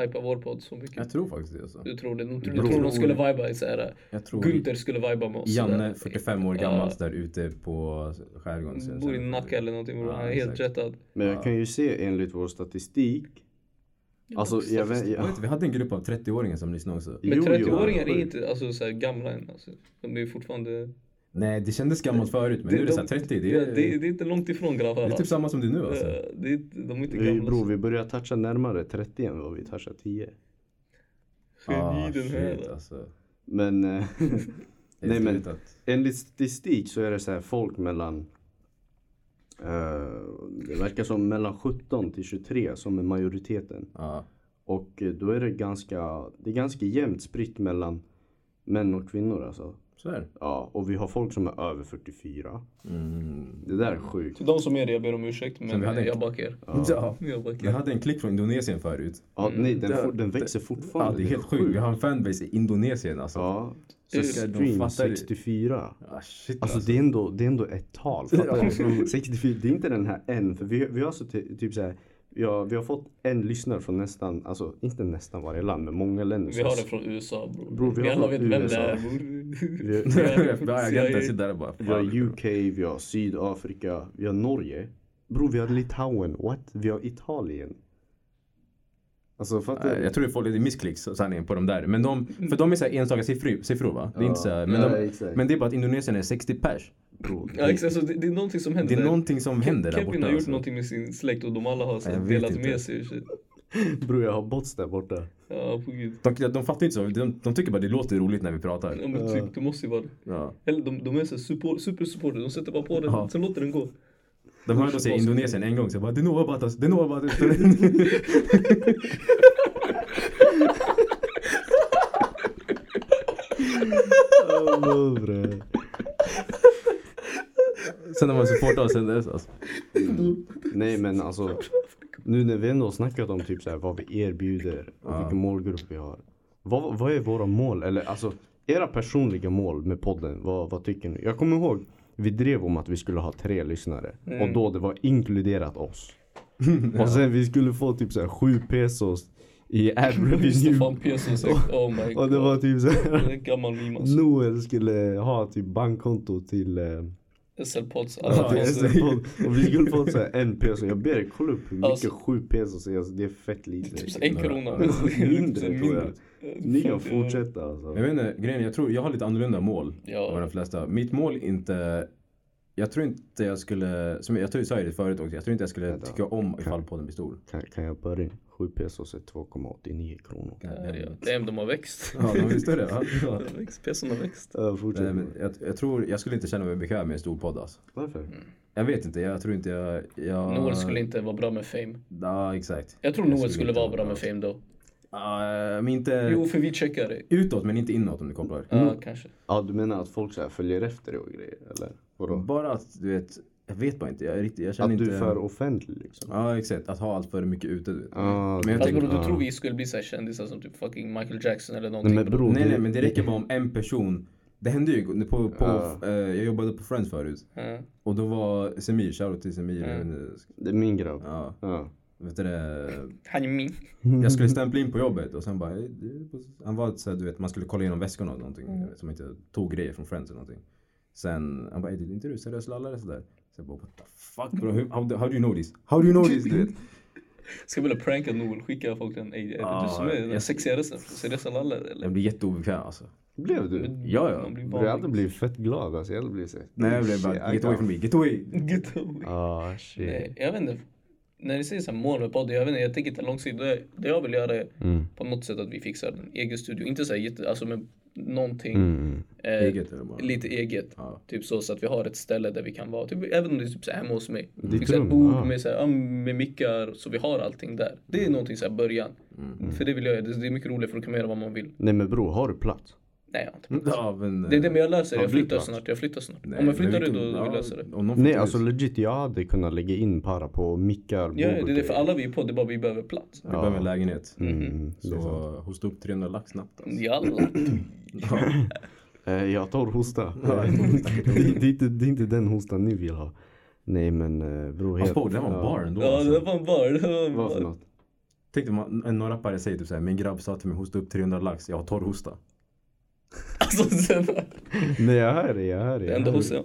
Speaker 4: hypa vår podd så mycket.
Speaker 3: Jag tror faktiskt det. Alltså.
Speaker 4: Du tror det? De,
Speaker 1: Bror.
Speaker 4: de tror de skulle viba i såhär.
Speaker 3: Jag tror
Speaker 4: Gunther skulle viba med oss.
Speaker 3: Janne,
Speaker 4: sådär.
Speaker 3: 45 år gammal, där ute på skärgården. så jag
Speaker 4: Bor i
Speaker 3: känner-
Speaker 4: Nacka eller någonting. bror.
Speaker 3: Ja,
Speaker 4: Han är helt
Speaker 3: exakt.
Speaker 4: jetad.
Speaker 1: Men jag kan ju se enligt vår statistik. Alltså jag vet...
Speaker 3: Jag vet
Speaker 1: Jag,
Speaker 3: inte, vi hade en grupp av 30-åringar som lyssnade också.
Speaker 4: Men
Speaker 1: Jo, jo,
Speaker 4: 30-åringar är
Speaker 1: sjukt.
Speaker 4: inte alltså, så här gamla än. Alltså. De är ju fortfarande...
Speaker 3: Nej, det kändes gammalt förut, men
Speaker 4: Det-
Speaker 3: nu är det
Speaker 4: de-
Speaker 3: såhär 30. Det
Speaker 4: Ja,
Speaker 3: är,
Speaker 4: det, det är inte långt ifrån grabbar.
Speaker 3: det är
Speaker 4: alltså.
Speaker 3: typ samma som du nu alltså.
Speaker 4: Eh, det är, inte- de är inte
Speaker 1: vi,
Speaker 4: gamla. alltså.
Speaker 1: bror,
Speaker 4: Bro,
Speaker 1: vi börjar toucha närmare 30 än vad vi touchar 10.
Speaker 3: Ah,
Speaker 4: den här.
Speaker 3: shit alltså.
Speaker 1: Men eh,
Speaker 3: Det är
Speaker 1: Nej, men-
Speaker 3: roligt att-
Speaker 1: enligt statistik så är det så här folk mellan eh, det verkar som mellan 17 till 23 som är majoriteten.
Speaker 3: Ja,
Speaker 1: Och eh, då är det ganska, det är ganska jämnt spritt mellan män och kvinnor alltså.
Speaker 3: så är det.
Speaker 1: Ja, och vi har folk som är över 44.
Speaker 3: Mm.
Speaker 1: Det där är sjukt.
Speaker 4: Till de som är det, jag ber om ursäkt men
Speaker 3: vi hade
Speaker 4: eh,
Speaker 3: en-
Speaker 4: jag backar.
Speaker 3: Ja.
Speaker 4: Jag backar.
Speaker 3: Jag hade en klick från Indonesien förut.
Speaker 1: Ja, nej, den,
Speaker 3: Mm. det-
Speaker 1: for, den växer
Speaker 3: Ja,
Speaker 1: fortfarande.
Speaker 3: det är helt sjukt. Vi har en fanbase i Indonesien alltså.
Speaker 1: Ja.
Speaker 4: Det är-
Speaker 3: de
Speaker 1: Stream
Speaker 3: fattar ju-
Speaker 1: 64.
Speaker 3: Ah, shit
Speaker 1: Alltså
Speaker 3: alltså.
Speaker 1: det är ändå, det är ändå ett tal. Fattar du? 64, det är inte den här en. För vi, vi har så ty, typ så här, ja, vi har fått en lyssnare från nästan, alltså inte nästan varje land, men många länder.
Speaker 4: Vi har det från USA bror.
Speaker 1: Bror, vi
Speaker 4: vi
Speaker 1: har
Speaker 4: alla
Speaker 1: från
Speaker 4: vet vem det
Speaker 1: USA.
Speaker 4: är bror.
Speaker 1: vi,
Speaker 3: FBI-agenten
Speaker 4: CIA.
Speaker 3: sitter där och bara.
Speaker 1: Vi har
Speaker 3: fan.
Speaker 1: UK, vi har Sydafrika, vi har Norge. Bro, vi har Litauen. What? Vi har Italien. Alltså fattar
Speaker 3: Nej,
Speaker 1: du?
Speaker 3: Eh, Jag tror det får lite missklicks sanningen på de där. Men de, för de är så här enstaka siffror, siffror va? Det är inte så här, men,
Speaker 1: Ja,
Speaker 3: de,
Speaker 1: exakt.
Speaker 3: men det är bara att Indonesien är 60 pers.
Speaker 1: Bro,
Speaker 4: Ja, exakt, så det, det är någonting som
Speaker 3: Det
Speaker 4: händer.
Speaker 3: är
Speaker 4: där.
Speaker 3: någonting som händer där
Speaker 4: Kevin
Speaker 3: borta.
Speaker 4: har gjort
Speaker 3: alltså.
Speaker 4: någonting med sin släkt och de alla har så,
Speaker 3: Ja, jag vet
Speaker 4: delat
Speaker 3: inte.
Speaker 4: med sig. och shit.
Speaker 1: bro, jag har bots där borta.
Speaker 4: Ja, på gud.
Speaker 3: De, de fattar inte så. De, de tycker bara det låter roligt när vi
Speaker 4: Ja,
Speaker 3: pratar.
Speaker 4: men typ, det måste ju vara
Speaker 3: Ja.
Speaker 4: Eller de, de är så här support, supersupporter, de sätter bara på den,
Speaker 3: Ja.
Speaker 4: sen låter den gå.
Speaker 3: De hörde oss i Indonesien en gång så jag bara det är några Batas, det är några Batas.
Speaker 1: Oh, bre.
Speaker 3: Sen har man supportat oss sen dess alltså.
Speaker 1: Nej men alltså. Nu när vi ändå har snackat om typ så här, vad vi erbjuder och vilken målgrupp vi har. Vad, vad är våra mål? Eller alltså era personliga mål med podden. Vad, vad tycker ni? Jag kommer ihåg. Vi drev om att vi skulle ha tre lyssnare. Och då det var inkluderat oss. Och sen vi skulle få typ så här 7 pesos
Speaker 3: i ad review.
Speaker 4: Stefan Pesos, oh my god.
Speaker 1: Och det var typ
Speaker 4: Det
Speaker 1: såhär.
Speaker 4: är en gammal meme alltså.
Speaker 1: Noel skulle ha typ bankkonto till eh,
Speaker 4: SL-pods,
Speaker 1: Ja,
Speaker 4: alla
Speaker 1: det är
Speaker 4: pods. typ
Speaker 1: så podd. Och vi skulle få så här en peso. Jag ber er kolla upp hur mycket
Speaker 4: Alltså-
Speaker 1: sju pesos är. Alltså, det är fett lite. Alltså,
Speaker 4: Typ så en krona. typ
Speaker 1: Mindre tror jag. Ni kan
Speaker 4: Fan, det var-
Speaker 1: fortsätta alltså.
Speaker 3: Jag vet inte, grejen är, jag tror jag har lite annorlunda mål
Speaker 4: Ja.
Speaker 3: än vad de flesta. Mitt mål är inte... Jag tror inte jag skulle, som jag tror jag sa ju det förut också, jag tror inte jag skulle
Speaker 1: Vänta.
Speaker 3: tycka om ifall podden blir stor.
Speaker 1: Kan, kan jag börja? Sju pesos är 2,89 kronor.
Speaker 3: Ja,
Speaker 4: Ja, ja. Nej, men de har växt.
Speaker 3: de blir större va? Ja.
Speaker 4: De har växt, Peson har växt.
Speaker 1: Ja, fortsätt.
Speaker 3: Nej, men jag, jag tror, jag skulle inte känna mig bekväm med en stor podd alltså.
Speaker 1: Varför?
Speaker 4: Mm.
Speaker 3: Jag vet inte, jag tror inte jag... jag...
Speaker 4: Noel skulle inte vara bra med fame.
Speaker 3: Ja, exakt.
Speaker 4: Jag tror Noel
Speaker 3: skulle
Speaker 4: skulle
Speaker 3: inte
Speaker 4: vara
Speaker 3: vara
Speaker 4: bra
Speaker 3: bra.
Speaker 4: med fame då.
Speaker 3: Ja, men
Speaker 1: Eh,
Speaker 3: inte
Speaker 4: Jo, för vi checkar det.
Speaker 3: utåt men inte inåt om du kopplar.
Speaker 4: Ja, kanske.
Speaker 1: Ja, du menar att folk så här följer efter dig och grejer? Eller vadå?
Speaker 3: Bara att du vet, jag vet bara inte, jag, är riktigt, jag känner
Speaker 1: Att
Speaker 3: inte...
Speaker 1: du är för offentlig liksom?
Speaker 3: Ja exakt, att ha allt för mycket ute du vet.
Speaker 1: Ah,
Speaker 3: Men jag
Speaker 4: Fast
Speaker 3: tänker-
Speaker 4: Alltså, bror, du
Speaker 1: ja.
Speaker 4: tror vi skulle bli så här kändisar som typ fucking Michael Jackson eller någonting.
Speaker 1: Nej men
Speaker 4: bror.
Speaker 1: bror.
Speaker 3: Nej nej men det räcker bara om en person. Det hände ju på, på
Speaker 1: Ja.
Speaker 3: eh, jag jobbade på Friends förut.
Speaker 4: Ja.
Speaker 3: Och då var Semir, shoutout till Semir.
Speaker 4: Mm.
Speaker 3: jag vet inte,
Speaker 1: Det är min grabb.
Speaker 3: Ja,
Speaker 1: Ja.
Speaker 3: vet du det?
Speaker 4: Han är min.
Speaker 3: Jag skulle stämpla in på jobbet och sen bara, eh, det är på- han var så här, du vet man skulle kolla igenom väskorna och någonting. jag
Speaker 1: Mm.
Speaker 3: vet, Som inte tog grejer från Friends eller någonting. Sen han bara, är det är inte du seriös lallare sådär? Så jag bara, what the fuck bro, Hur- how, do- how do you know this? How do you know this? Du vet.
Speaker 4: Ska vilja pranka Noel, skicka folk den. Ey, är det
Speaker 3: Ja,
Speaker 4: du som är den
Speaker 3: jag-
Speaker 4: sexiga rösten? Seriösa lallar eller?
Speaker 3: Jag blir jätteobekväm alltså.
Speaker 1: Blev du?
Speaker 4: Men
Speaker 3: Ja, ja.
Speaker 4: man blir
Speaker 1: Bror, jag
Speaker 4: van.
Speaker 1: hade blivit fett glad alltså. Jag hade blivit såhär.
Speaker 3: Nej jag blev bara, get away from me, get away!
Speaker 4: Get away.
Speaker 1: Ah shit.
Speaker 4: Nej, jag vet inte. När ni säger så här mål med podden, jag vet inte, jag tänker inte långsiktigt. Det, det jag vill göra är
Speaker 3: Mm.
Speaker 4: på något sätt att vi fixar en egen studio. Inte så här jätte, alltså men någonting.
Speaker 1: Mm,
Speaker 4: eh,
Speaker 3: Mm, Eget eller bara?
Speaker 4: Lite eget.
Speaker 3: Ja.
Speaker 4: Typ så, så att vi har ett ställe där vi kan vara. Typ, även om det är typ så här hemma hos mig. Fixa
Speaker 1: rum,
Speaker 4: ett bord
Speaker 1: ja.
Speaker 4: med, så här, ja, med mickar så vi har allting där. Det
Speaker 3: Mm.
Speaker 4: är någonting så här början. För det vill jag göra. Det, det är mycket roligare för att kan man göra vad man vill.
Speaker 1: Nej men bror, har du plats?
Speaker 4: Nej, jag har inte.
Speaker 3: Ja, men, eh,
Speaker 4: Det är det men jag löser det. Jag
Speaker 1: Ja, du
Speaker 4: flyttar
Speaker 1: kan.
Speaker 4: snart. Jag flyttar snart.
Speaker 3: Nej,
Speaker 4: Om jag flyttar
Speaker 3: men
Speaker 4: det då,
Speaker 3: vilken-
Speaker 4: då
Speaker 3: ja,
Speaker 4: löser det.
Speaker 3: Om någon
Speaker 1: Nej
Speaker 3: flyttar
Speaker 1: alltså
Speaker 3: ut,
Speaker 1: legit, jag hade kunnat lägga in para på mickar, bord
Speaker 4: Ja, det
Speaker 1: och
Speaker 4: är det. För
Speaker 1: grejer.
Speaker 4: alla vi är på, det är bara vi behöver plats.
Speaker 3: Vi behöver en lägenhet.
Speaker 1: Mm, det är
Speaker 3: Så
Speaker 1: sant.
Speaker 3: hosta upp 300 lax snabbt. Alltså.
Speaker 4: Jalla.
Speaker 1: Eh, Jag tar hosta. det, det, är inte, det är inte den hostan ni vill ha. Nej men eh, bror.
Speaker 3: Hans
Speaker 1: helt-
Speaker 3: bord, det var en bar ändå.
Speaker 4: Ja, det
Speaker 3: Alltså.
Speaker 4: var en bar. Det var en
Speaker 1: Vad för
Speaker 4: bar.
Speaker 1: något?
Speaker 3: Tänk dig man- en någon rappare säger typ såhär, min grabb sa till mig hosta upp 300 lax, jag har torr hosta.
Speaker 4: Alltså, sen,
Speaker 1: Nej jag hör det, jag hör det.
Speaker 4: det
Speaker 1: jag
Speaker 4: enda
Speaker 1: hör
Speaker 4: hos
Speaker 1: det.
Speaker 4: jag...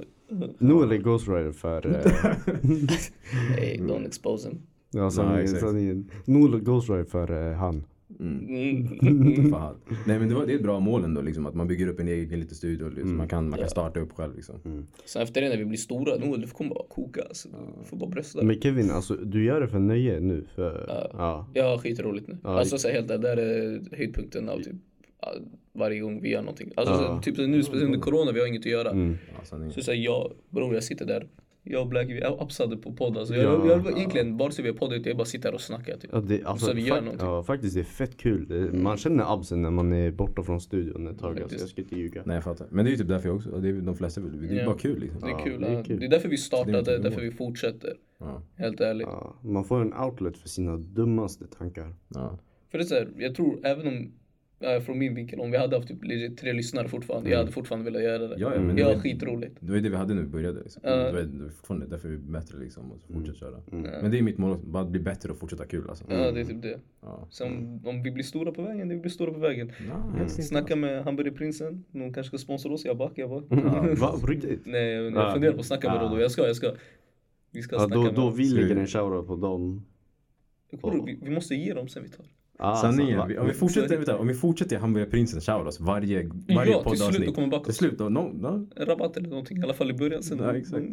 Speaker 1: Noel är Ghost Rider för... eh, alltså,
Speaker 4: Hey, don't expose him.
Speaker 1: Ja
Speaker 3: Nej,
Speaker 1: sanningen,
Speaker 3: exakt.
Speaker 1: sanningen. Noel är Ghost Rider för eh, han.
Speaker 4: Mm.
Speaker 3: Fan. Nej men det, var, det är ett bra mål ändå liksom, att man bygger upp en egen liten studio. Liksom. Man, kan, man kan starta upp själv liksom.
Speaker 4: Sen efter det när vi blir stora, Noel du kommer bara koka alltså. Du får bara brösta.
Speaker 1: Men Kevin alltså du gör det för nöje nu för... Ja.
Speaker 4: Jag har skitroligt nu. Alltså så här, helt det där är höjdpunkten av typ ja, varje gång vi gör någonting. Alltså så här, typ så här, nu speciellt under corona, vi har inget att göra.
Speaker 3: Ja, sanningen.
Speaker 4: Så säger jag, bror jag sitter där. Jag och Black, vi är absade på podd alltså. Jag, jag, jag, egentligen, vare sig vi har podd eller inte, jag bara sitter här och snackar typ.
Speaker 1: Ja, det, alltså,
Speaker 4: Så vi gör
Speaker 1: fakt-
Speaker 4: någonting. Mm.
Speaker 1: ja, faktiskt det är fett kul. Det- Man känner absen när man är borta från studion ett tag. Alltså,
Speaker 4: Faktiskt.
Speaker 1: jag ska inte ljuga.
Speaker 3: Nej jag fattar. Men det är ju typ därför jag också, det är ju de flesta vill, det är ju
Speaker 4: Ja.
Speaker 3: bara kul liksom.
Speaker 4: Det är, kul,
Speaker 1: det är
Speaker 4: ja.
Speaker 1: kul.
Speaker 4: det är därför vi
Speaker 3: Så det är
Speaker 4: startade,
Speaker 3: inte
Speaker 4: därför vi fortsätter.
Speaker 3: Ja.
Speaker 4: Helt ärligt.
Speaker 1: Ja, man får en outlet för sina dummaste tankar.
Speaker 3: Ja.
Speaker 4: För det är så här, jag tror även om, ja, från min vinkel, om vi hade haft typ legit tre lyssnare fortfarande,
Speaker 1: Mm.
Speaker 4: jag hade fortfarande velat göra det.
Speaker 3: Ja, ja, men
Speaker 4: Jag
Speaker 3: det-
Speaker 4: har skitroligt.
Speaker 3: Det var ju det vi hade när vi började. Liksom.
Speaker 4: Mm. Ja.
Speaker 3: Det var- det var fortfarande därför vi är bättre liksom. Och så fortsätta köra. Men det är mitt mål också, bara att bli bättre och fortsätta kul alltså.
Speaker 1: Mm.
Speaker 4: Ja, det är typ det.
Speaker 3: Ja.
Speaker 4: Så om, om vi blir stora på vägen, det blir stora på vägen.
Speaker 3: Ja, helst inte.
Speaker 4: Snacka med hamburgerprinsen, någon kanske ska sponsra oss, jag back, jag back.
Speaker 1: Va? På riktigt?
Speaker 4: Nej, jag,
Speaker 1: Ah.
Speaker 4: jag funderar på att snacka med
Speaker 1: Ah.
Speaker 4: Rodo, jag ska, jag ska. Vi ska
Speaker 1: Ja,
Speaker 4: snacka
Speaker 1: då,
Speaker 4: med
Speaker 1: då
Speaker 4: dem.
Speaker 1: vi lägger en shoutout på dem.
Speaker 4: Jag kommer ihåg, vi, vi måste ge dem sen vi tar.
Speaker 1: Ah,
Speaker 3: Sanningen.
Speaker 1: va-
Speaker 3: Vi- Om vi fortsätter, vänta, om vi fortsätter i Hamburgerprinsen shoutouts varje,
Speaker 4: Ja,
Speaker 3: varje
Speaker 4: till slut då
Speaker 3: poddavsnitt.
Speaker 4: kommer bakom.
Speaker 3: Till slut då, no, no.
Speaker 4: En rabatt eller någonting, i alla fall i början. Sen, Mm,
Speaker 3: Ja, exakt.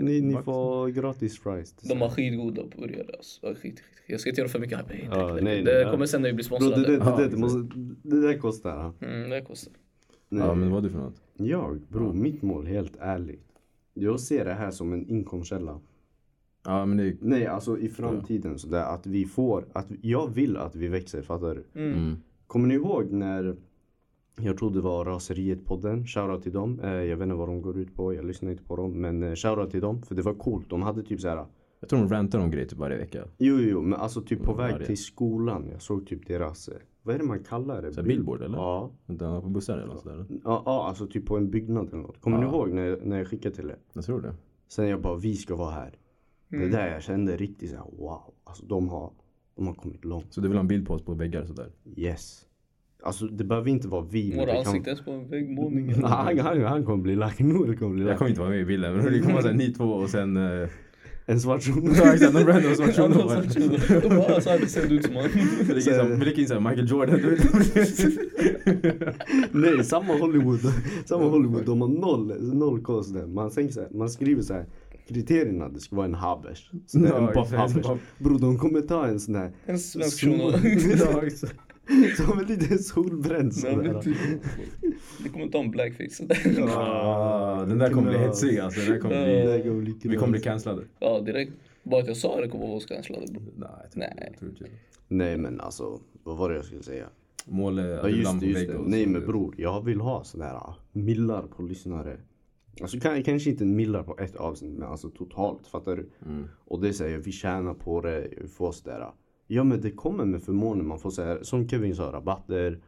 Speaker 1: Ni, ni får gratis fries.
Speaker 4: De har skitgoda burgare alltså. Ja, Skit, skit. Jag ska inte göra för mycket här. Nej, tack,
Speaker 1: Ja,
Speaker 4: tack.
Speaker 1: nej,
Speaker 4: det
Speaker 1: nej.
Speaker 4: kommer sen när vi blir
Speaker 1: Bro, det,
Speaker 4: sponsrade.
Speaker 1: det,
Speaker 3: Ja,
Speaker 1: det, det,
Speaker 3: exakt.
Speaker 1: måste, det där kostar. ja.
Speaker 4: Mm, det kostar.
Speaker 1: Nej.
Speaker 3: Ja men vad är du för något?
Speaker 1: Jag, bro, mitt mål helt ärligt. Jag ser det här som en inkomstkälla.
Speaker 3: Ja men det är
Speaker 1: Nej, alltså i framtiden så där att vi får, att jag vill att vi växer, fattar du?
Speaker 4: Mm,
Speaker 3: Mm,
Speaker 1: Kommer ni ihåg när jag tror det var Raseriet-podden, shoutout till dem. Eh, jag vet inte vad de går ut på, jag lyssnar inte på dem. Men eh, shoutout till dem, för det var coolt. De hade typ så här.
Speaker 3: jag tror de rantar om grejer typ varje vecka.
Speaker 1: Jo, jo, jo, men alltså typ på
Speaker 3: Mm,
Speaker 1: väg
Speaker 3: varje.
Speaker 1: till skolan. Jag såg typ deras, eh, vad är det man kallar det?
Speaker 3: Så här billboard eller?
Speaker 1: Mm. Ja.
Speaker 3: Vänta, på bussar eller något sådär?
Speaker 1: Ja, ja, alltså typ på en byggnad eller något. Kommer ni ihåg när jag, när jag skickade till er?
Speaker 3: Jag tror det.
Speaker 4: Mm.
Speaker 1: Sen jag bara, vi ska vara här. Det där jag kände riktigt såhär, wow. Alltså de har De har kommit långt.
Speaker 3: Så du vill ha en bild på oss på väggar sådär?
Speaker 1: Yes. Alltså det behöver inte vara vi. men
Speaker 4: Våra
Speaker 1: det kan-
Speaker 4: ansikten ens på en väggmålning. eller-
Speaker 1: Han, han, han kommer bli lack. Noel kommer bli
Speaker 3: Jag
Speaker 1: lack.
Speaker 3: kommer inte vara med i bilden men det kommer vara såhär ni två och sen... eh,
Speaker 1: En svart shuno.
Speaker 3: Ja exakt, någon random svart
Speaker 4: Ja,
Speaker 3: shuno
Speaker 4: någon
Speaker 3: bara.
Speaker 4: sorts shuno. De bara, alltså det ser ut som han.
Speaker 3: Vi lägger in så här- vi lägger in såhär Michael Jordan. du vet.
Speaker 1: Nej, samma Hollywood. Samma Hollywood. De har noll, noll koll. där. Man, tänker så här, man skriver så här. Kriterierna, det ska vara en habbers. Så där,
Speaker 3: Ja,
Speaker 1: en buff
Speaker 3: exakt, en
Speaker 1: habbers.
Speaker 3: buff.
Speaker 1: Bro, de kommer ta en sån här.
Speaker 4: En svensk shuno.
Speaker 1: Små- Som en liten solbränd
Speaker 4: Nej,
Speaker 1: sån
Speaker 4: men
Speaker 1: där.
Speaker 4: typ. Det kommer inte ha en blackface. sådär.
Speaker 3: Ah, Den där kommer bli hetsig alltså. Den där kommer
Speaker 1: Det
Speaker 3: bli...
Speaker 1: där kommer bli
Speaker 3: Vi kommer bli
Speaker 1: knas.
Speaker 3: cancellade.
Speaker 4: Ja, direkt. Bara att jag sa det kommer vara oskanslat.
Speaker 3: Nej, jag tror inte det. Jag tror inte det.
Speaker 1: Nej men alltså, vad var det jag skulle säga?
Speaker 3: Mål är att
Speaker 1: Ja
Speaker 3: det är
Speaker 1: just
Speaker 3: lamm
Speaker 1: det,
Speaker 3: på
Speaker 1: just
Speaker 3: vägg
Speaker 1: det.
Speaker 3: och
Speaker 1: Nej
Speaker 3: så-
Speaker 1: men bror, jag vill ha sådana här ah, millar på lyssnare. Alltså kan, kanske inte en millar på ett avsnitt men alltså totalt, fattar du?
Speaker 3: Mm.
Speaker 1: Och det säger vi tjänar på det, vi får sådär. ah. Ja men det kommer med förmåner, man får såhär, som Kevin sa, rabatter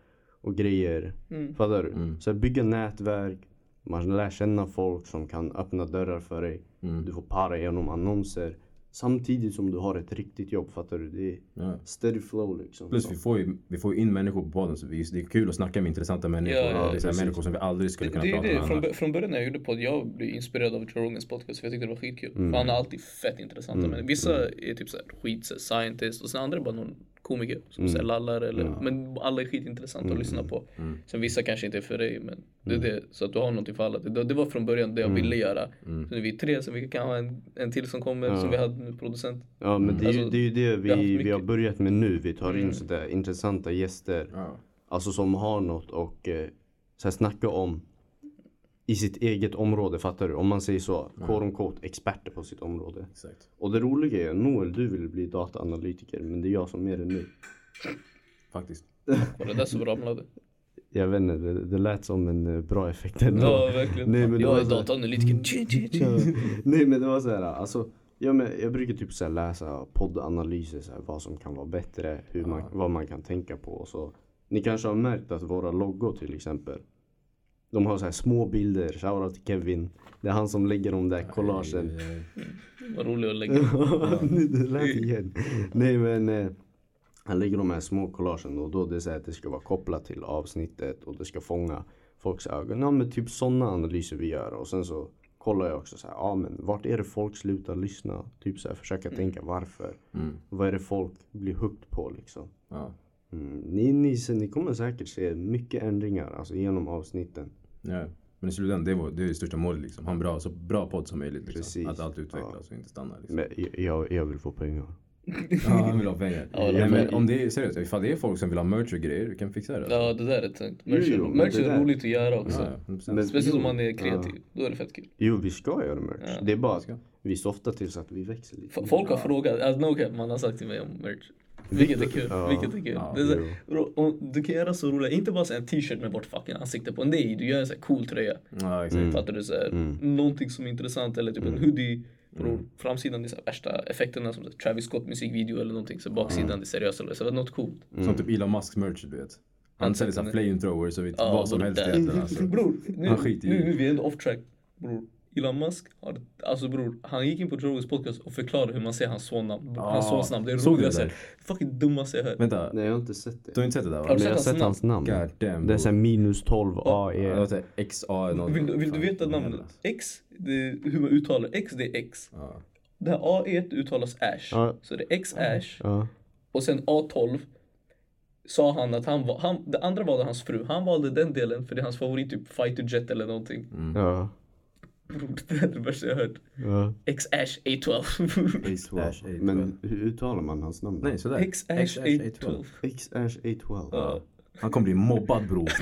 Speaker 1: och grejer.
Speaker 4: Mm.
Speaker 1: Fattar du?
Speaker 3: Mm.
Speaker 1: Så här, bygga nätverk, man lär känna folk som kan öppna dörrar för dig.
Speaker 3: Mm.
Speaker 1: Du får para genom annonser. Samtidigt som du har ett riktigt jobb, fattar du? Det är
Speaker 3: Ja.
Speaker 1: steady flow liksom.
Speaker 3: Plus vi får ju vi får ju in människor på podden så vi, det är kul att snacka med intressanta människor.
Speaker 4: Ja, ja,
Speaker 3: det är så här
Speaker 1: precis.
Speaker 3: människor som vi aldrig skulle
Speaker 4: Det
Speaker 3: kunna
Speaker 4: det är
Speaker 3: prata
Speaker 4: det,
Speaker 3: med
Speaker 4: från,
Speaker 3: annars.
Speaker 4: bör- från början när jag gjorde podd, jag blev inspirerad av Joe Rogans podcast för jag tyckte det var skitkul.
Speaker 1: Mm.
Speaker 4: För han är alltid fett intressant. Men vissa är typ såhär skit, så här, scientist och sen andra är bara någon komiker som mm. lallar eller, men alla är skitintressanta
Speaker 1: Mm.
Speaker 4: att lyssna på. Sen vissa kanske inte är för dig men det är det, så att du har någonting för alla. Det, det var från början det
Speaker 1: Mm.
Speaker 4: jag ville göra. Så nu är vi tre, sen vi kan ha en, en till som kommer som vi hade med producent.
Speaker 1: Ja men det är, ju,
Speaker 4: Alltså,
Speaker 1: det är ju det vi,
Speaker 4: har haft
Speaker 1: vi,
Speaker 4: mycket- Mm.
Speaker 1: har börjat med nu. Vi tar in sådär intressanta gäster.
Speaker 3: Ja.
Speaker 1: Alltså som har något och eh, så här, snacka om i sitt eget område. Fattar du? Om man säger så.
Speaker 4: Mm.
Speaker 1: Quote unquote experter på sitt område.
Speaker 3: Exakt.
Speaker 1: Och det roliga är Noel du vill bli dataanalytiker men det är jag som är det nu.
Speaker 3: Faktiskt.
Speaker 4: Var det där som ramlade?
Speaker 1: Jag vet inte, det, det lät som en eh, bra effekt ändå.
Speaker 4: Ja verkligen.
Speaker 1: Nej, men det
Speaker 4: jag
Speaker 1: var
Speaker 4: är
Speaker 1: så här-
Speaker 4: dataanalytiker. Tji, tji, tji.
Speaker 1: Ja. Nej men det var så här, alltså, ja, men jag brukar typ så här läsa poddanalyser, så här, vad som kan vara bättre, hur man, vad man kan tänka på. Och så. Ni kanske har märkt att våra loggor till exempel, de har så här små bilder, shoutout till Kevin. Det är han som lägger de där collagen.
Speaker 3: Eh,
Speaker 4: Vad roligt att lägga.
Speaker 1: Nu, det lät igen. Nej men, eh, han lägger de här små collagen och då det är så här att det ska vara kopplat till avsnittet och det ska fånga folks ögon. Ja men typ sådana analyser vi gör och sen så kollar jag också så här, ja men vart är det folk slutar lyssna? Typ så här försöka
Speaker 4: Mm.
Speaker 1: tänka varför? Vad är det folk blir hooked på liksom?
Speaker 3: mm, Ja.
Speaker 1: Mm. Ni, ni, så ni kommer säkert se mycket ändringar alltså genom avsnitten.
Speaker 3: Ja. Men i slutändan, det, var, det är det största målet liksom. Ha en bra, så bra podd som möjligt. Liksom.
Speaker 1: Precis.
Speaker 3: Att allt utvecklas och inte stannar. Liksom.
Speaker 1: Men jag- jag, jag vill få pengar.
Speaker 3: Ja, han vill ha pengar.
Speaker 4: vill ha
Speaker 3: Nej, men
Speaker 1: pengar.
Speaker 3: om det är, seriöst, ifall det är folk som vill ha merch och grejer, vi kan fixa det.
Speaker 4: Ja, det där är tänkt.
Speaker 1: Jo,
Speaker 4: Merch,
Speaker 1: jo, men
Speaker 4: merch
Speaker 1: det där-
Speaker 4: är roligt att göra också.
Speaker 3: Ja, 100%.
Speaker 1: Men-
Speaker 4: Speciellt om
Speaker 1: jo,
Speaker 4: man är kreativ. Då är det fett kul.
Speaker 1: Jo vi ska göra merch.
Speaker 4: Ja,
Speaker 1: det är bara att
Speaker 3: ska.
Speaker 1: vi softar till så att vi växer lite.
Speaker 4: F- Folk har frågat, alltså, no cap, man har sagt till mig om merch. Vilket är kul.
Speaker 1: Ja,
Speaker 4: vilket är kul.
Speaker 3: ja,
Speaker 4: det är så, här,
Speaker 1: jo.
Speaker 4: bro, om, du kan göra så roliga, inte bara så här en t-shirt med vårt fucking ansikte på. Nej, du gör en så här cool tröja.
Speaker 3: Ja, exakt.
Speaker 1: Mm.
Speaker 4: Fattar du? Så här, Någonting som är intressant eller typ en hoodie. Bror,
Speaker 1: Mm.
Speaker 4: framsidan är så här värsta effekterna som så här, Travis Scott musikvideo eller någonting. Så baksidan
Speaker 1: Mm.
Speaker 4: är seriös eller så. Något coolt.
Speaker 3: Som typ Elon Musks merch, du vet. Han säljer såhär flamethrowers och vet,
Speaker 4: Ja,
Speaker 3: vad som
Speaker 4: och
Speaker 3: helst
Speaker 4: det-
Speaker 3: egentligen. Alltså.
Speaker 4: Bror, nu,
Speaker 3: Han skiter i
Speaker 4: nu,
Speaker 3: det.
Speaker 4: nu är vi ändå off track. Bror, Elon Musk, har, alltså bror, han gick in på Joe Rogans podcast och förklarade hur man säger hans sonnamn.
Speaker 3: Ah,
Speaker 4: hans sons namn. Det är
Speaker 3: såg du det
Speaker 4: roligaste,
Speaker 3: där?
Speaker 4: fucking dummaste jag hört.
Speaker 3: Vänta,
Speaker 1: Nej jag har inte sett det.
Speaker 3: du har inte sett det där va?
Speaker 4: Har du
Speaker 1: Men jag har sett hans namn.
Speaker 3: God damn,
Speaker 1: det är såhär minus E. 12
Speaker 3: Ja,
Speaker 1: AE.
Speaker 3: det var XA eller något.
Speaker 4: Vill, du- vill du veta
Speaker 3: Fan,
Speaker 4: namnet?
Speaker 3: jävlar.
Speaker 4: X, det är hur man uttalar X, det är X.
Speaker 3: Ja.
Speaker 4: Det här A1 uttalas ash.
Speaker 1: Ja.
Speaker 4: Så det är X ash.
Speaker 1: Ja.
Speaker 4: Och sen A12 sa han att han var, han, det andra valde hans fru. Han valde den delen för det är hans favorit, typ fighter jet eller någonting.
Speaker 1: Ja.
Speaker 3: Mm.
Speaker 4: Bror, det är det värsta jag hört.
Speaker 1: ja.
Speaker 4: X ash A12.
Speaker 3: Ash A12.
Speaker 1: Men hur uttalar man hans namn?
Speaker 3: Nej, sådär.
Speaker 4: X ash A12.
Speaker 1: X Ash A12.
Speaker 4: Ja.
Speaker 3: Han kommer bli mobbad bror.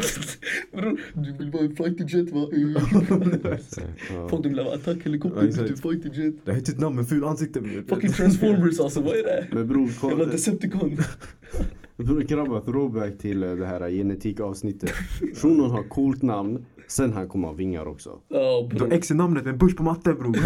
Speaker 4: Bror, du vill vara en fighter jet va? Eh.
Speaker 1: Ja.
Speaker 4: Folk de vill ha attackhelikopter,
Speaker 3: Ja,
Speaker 4: du
Speaker 3: exakt.
Speaker 4: är fighter jet.
Speaker 3: Det har hittat namn med ful ansikte. bror.
Speaker 4: Fucking transformers alltså, vad är det?
Speaker 1: Men bror, kolla-
Speaker 4: Jävla Decepticon.
Speaker 1: bror grabbar, throwback till eh, det här genetikavsnittet. Shunon har coolt namn, sen han kommer ha vingar också.
Speaker 4: Ja
Speaker 3: Du
Speaker 4: bror.
Speaker 3: har X i namnet med en börs på matten bror.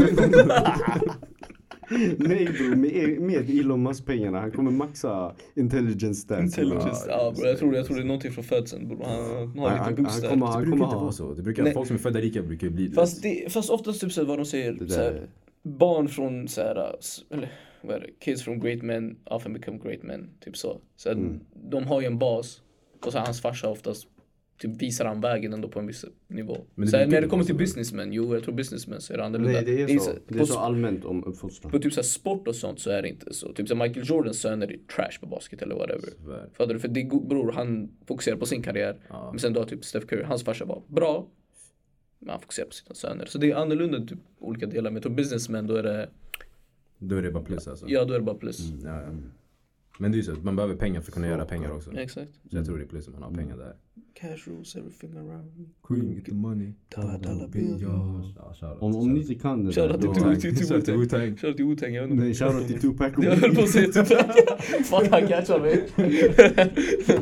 Speaker 1: Nej bror, med, e- med Elon Musk-pengarna, han kommer maxa intelligence typ. stats.
Speaker 4: Intelligence. Ja bror, jag tror, jag tror det är någonting från födseln bror. Han
Speaker 1: Han,
Speaker 4: har
Speaker 1: han,
Speaker 4: lite boost
Speaker 1: han kommer,
Speaker 4: där.
Speaker 3: Det
Speaker 1: han
Speaker 3: brukar
Speaker 1: kommer
Speaker 3: inte
Speaker 1: ha...
Speaker 3: vara så. Det brukar,
Speaker 4: Nej.
Speaker 3: folk som är födda rika brukar bli det.
Speaker 4: Fast, det, fast oftast typ såhär vad de säger,
Speaker 1: där
Speaker 4: såhär,
Speaker 1: är-
Speaker 4: barn från såhär, s- eller vad är det, kids from great men often become great men. Typ så. Så att
Speaker 1: Mm.
Speaker 4: de har ju en bas. Och så hans farsa oftast typ visar han vägen ändå på en viss nivå.
Speaker 3: Men det
Speaker 4: så här,
Speaker 3: blir
Speaker 4: när
Speaker 3: inte
Speaker 4: det kommer
Speaker 3: så,
Speaker 4: till
Speaker 3: eller?
Speaker 4: businessmen, jo jag tror businessmen så är det annorlunda.
Speaker 1: Nej, det är
Speaker 4: ju
Speaker 1: så. Det är
Speaker 4: på
Speaker 1: så allmänt om uppfostran.
Speaker 4: på typ så här sport och sånt så är det inte så. Typ så här Michael Jordans söner är trash på basket eller whatever.
Speaker 3: Tyvärr.
Speaker 4: Fattar du? För det är go- bror, han fokuserar på sin karriär.
Speaker 3: Ja.
Speaker 4: Men sen då typ Steph Curry, hans farsa var bra. Men han fokuserar på sina söner. Så det är annorlunda typ olika delar. Men jag tror businessmen då är det,
Speaker 3: Då är det bara plus alltså.
Speaker 4: ja då är det bara plus.
Speaker 3: Ja, ja. Men det är ju så, att man behöver pengar för att kunna göra pengar också.
Speaker 4: Exakt.
Speaker 3: Så jag tror det är plus om man har pengar där.
Speaker 4: Cash rules everything around. me.
Speaker 3: Queen, get the money.
Speaker 4: Ta dollar bill.
Speaker 1: Om, om ni inte kan det
Speaker 4: Shoutout till
Speaker 1: då-
Speaker 4: Tupac. Shoutout till
Speaker 3: Wu-Tang.
Speaker 4: Shoutout till Wu-Tang, jag vet inte. om-
Speaker 1: Nej, shoutout till Tupac.
Speaker 4: Jag höll på att säga Tupac. Fan han catchar mig. Jag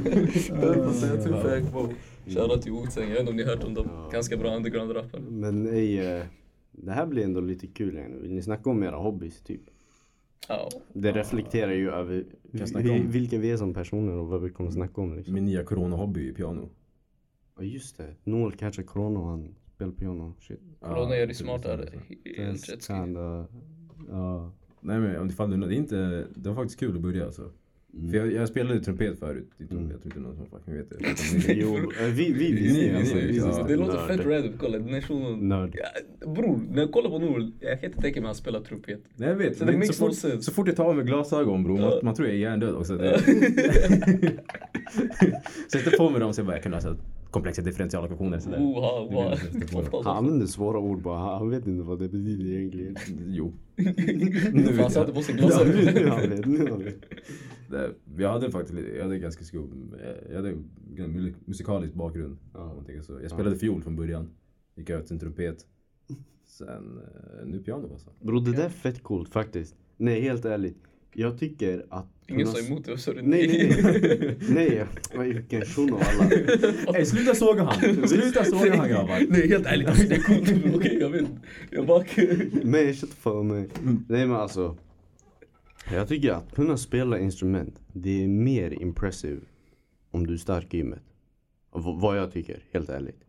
Speaker 4: höll på att säga Tupac. wow. Shoutout till Wu-Tang, jag vet inte om ni hört om dem. Ganska bra underground-rappare.
Speaker 1: Men nej, eh, det här blir ändå lite kul igen. Vill ni snacka om era hobbys typ?
Speaker 4: Ja.
Speaker 1: Det reflekterar ju över
Speaker 3: Kan
Speaker 1: vi-
Speaker 3: snacka om.
Speaker 1: vilka vi är som personer och vad vi kommer snacka om. Liksom.
Speaker 3: Min nya corona-hobby är piano.
Speaker 1: Ja just det, Noel catchar corona och han spelar piano. Shit.
Speaker 4: Corona gör dig
Speaker 3: typ
Speaker 4: smartare.
Speaker 3: så.
Speaker 4: Helt rätt skrivet.
Speaker 1: kinda, ja.
Speaker 3: Nej men om det faller undan, det är inte, det var faktiskt kul att börja alltså.
Speaker 4: Mm.
Speaker 3: För jag, jag spelade trumpet förut, det tror, jag tror inte någon som fucking vet det. Utan
Speaker 1: Jo, eh, vi, vi visste
Speaker 3: Ni-
Speaker 1: ju.
Speaker 3: ni-
Speaker 1: Alltså,
Speaker 3: ni-
Speaker 1: vi
Speaker 3: ja.
Speaker 1: visste.
Speaker 4: Det låter
Speaker 1: Nörd.
Speaker 4: fett random, kolla den här shunon.
Speaker 1: Nörd.
Speaker 4: Ja, bror, när jag kollar på Noel, jag kan inte tänka mig att han spelar trumpet.
Speaker 3: Nej jag vet,
Speaker 4: Så det
Speaker 3: men så
Speaker 4: makes no
Speaker 3: fort,
Speaker 4: sense.
Speaker 3: så fort jag tar av mig glasögon bror, man, man tror jag är hjärndöd också. Det. Sätter på mig dem så jag bara, jag kan lösa komplexa differentialequationer sådär.
Speaker 4: Oha, oha. alltså.
Speaker 3: Det är det
Speaker 4: Ofta
Speaker 1: Han
Speaker 4: så.
Speaker 1: använder svåra ord bara, han han vet inte vad det betyder egentligen.
Speaker 3: Jo.
Speaker 4: Fan, han satte på sig
Speaker 1: Ja,
Speaker 4: glasögon.
Speaker 1: nu- nu han vet, nu han vet.
Speaker 3: Det, jag hade faktiskt lite- jag hade ganska skum, eh, jag hade en mu- musikalisk bakgrund. om man tänker så. Jag spelade fiol från början, gick över till en trumpet. Sen eh, nu piano alltså.
Speaker 1: Bro, det där är fett coolt faktiskt. Nej, helt ärligt. Jag tycker att...
Speaker 4: Ingen sa emot det, sorry.
Speaker 1: Nej, nej, nej. nej. Vilken shuno alla.
Speaker 3: Ey sluta såga han! Sluta såga han grabbar!
Speaker 4: Nej, helt ärligt, alltså, det är coolt. Okej, jag vet. Jag bara...
Speaker 1: Nej, shut the fuck up, nej.
Speaker 3: Mm.
Speaker 1: Nej men alltså. Jag tycker att kunna spela instrument, det är mer impressive om du är stark i gymmet. V- vad jag tycker, helt ärligt.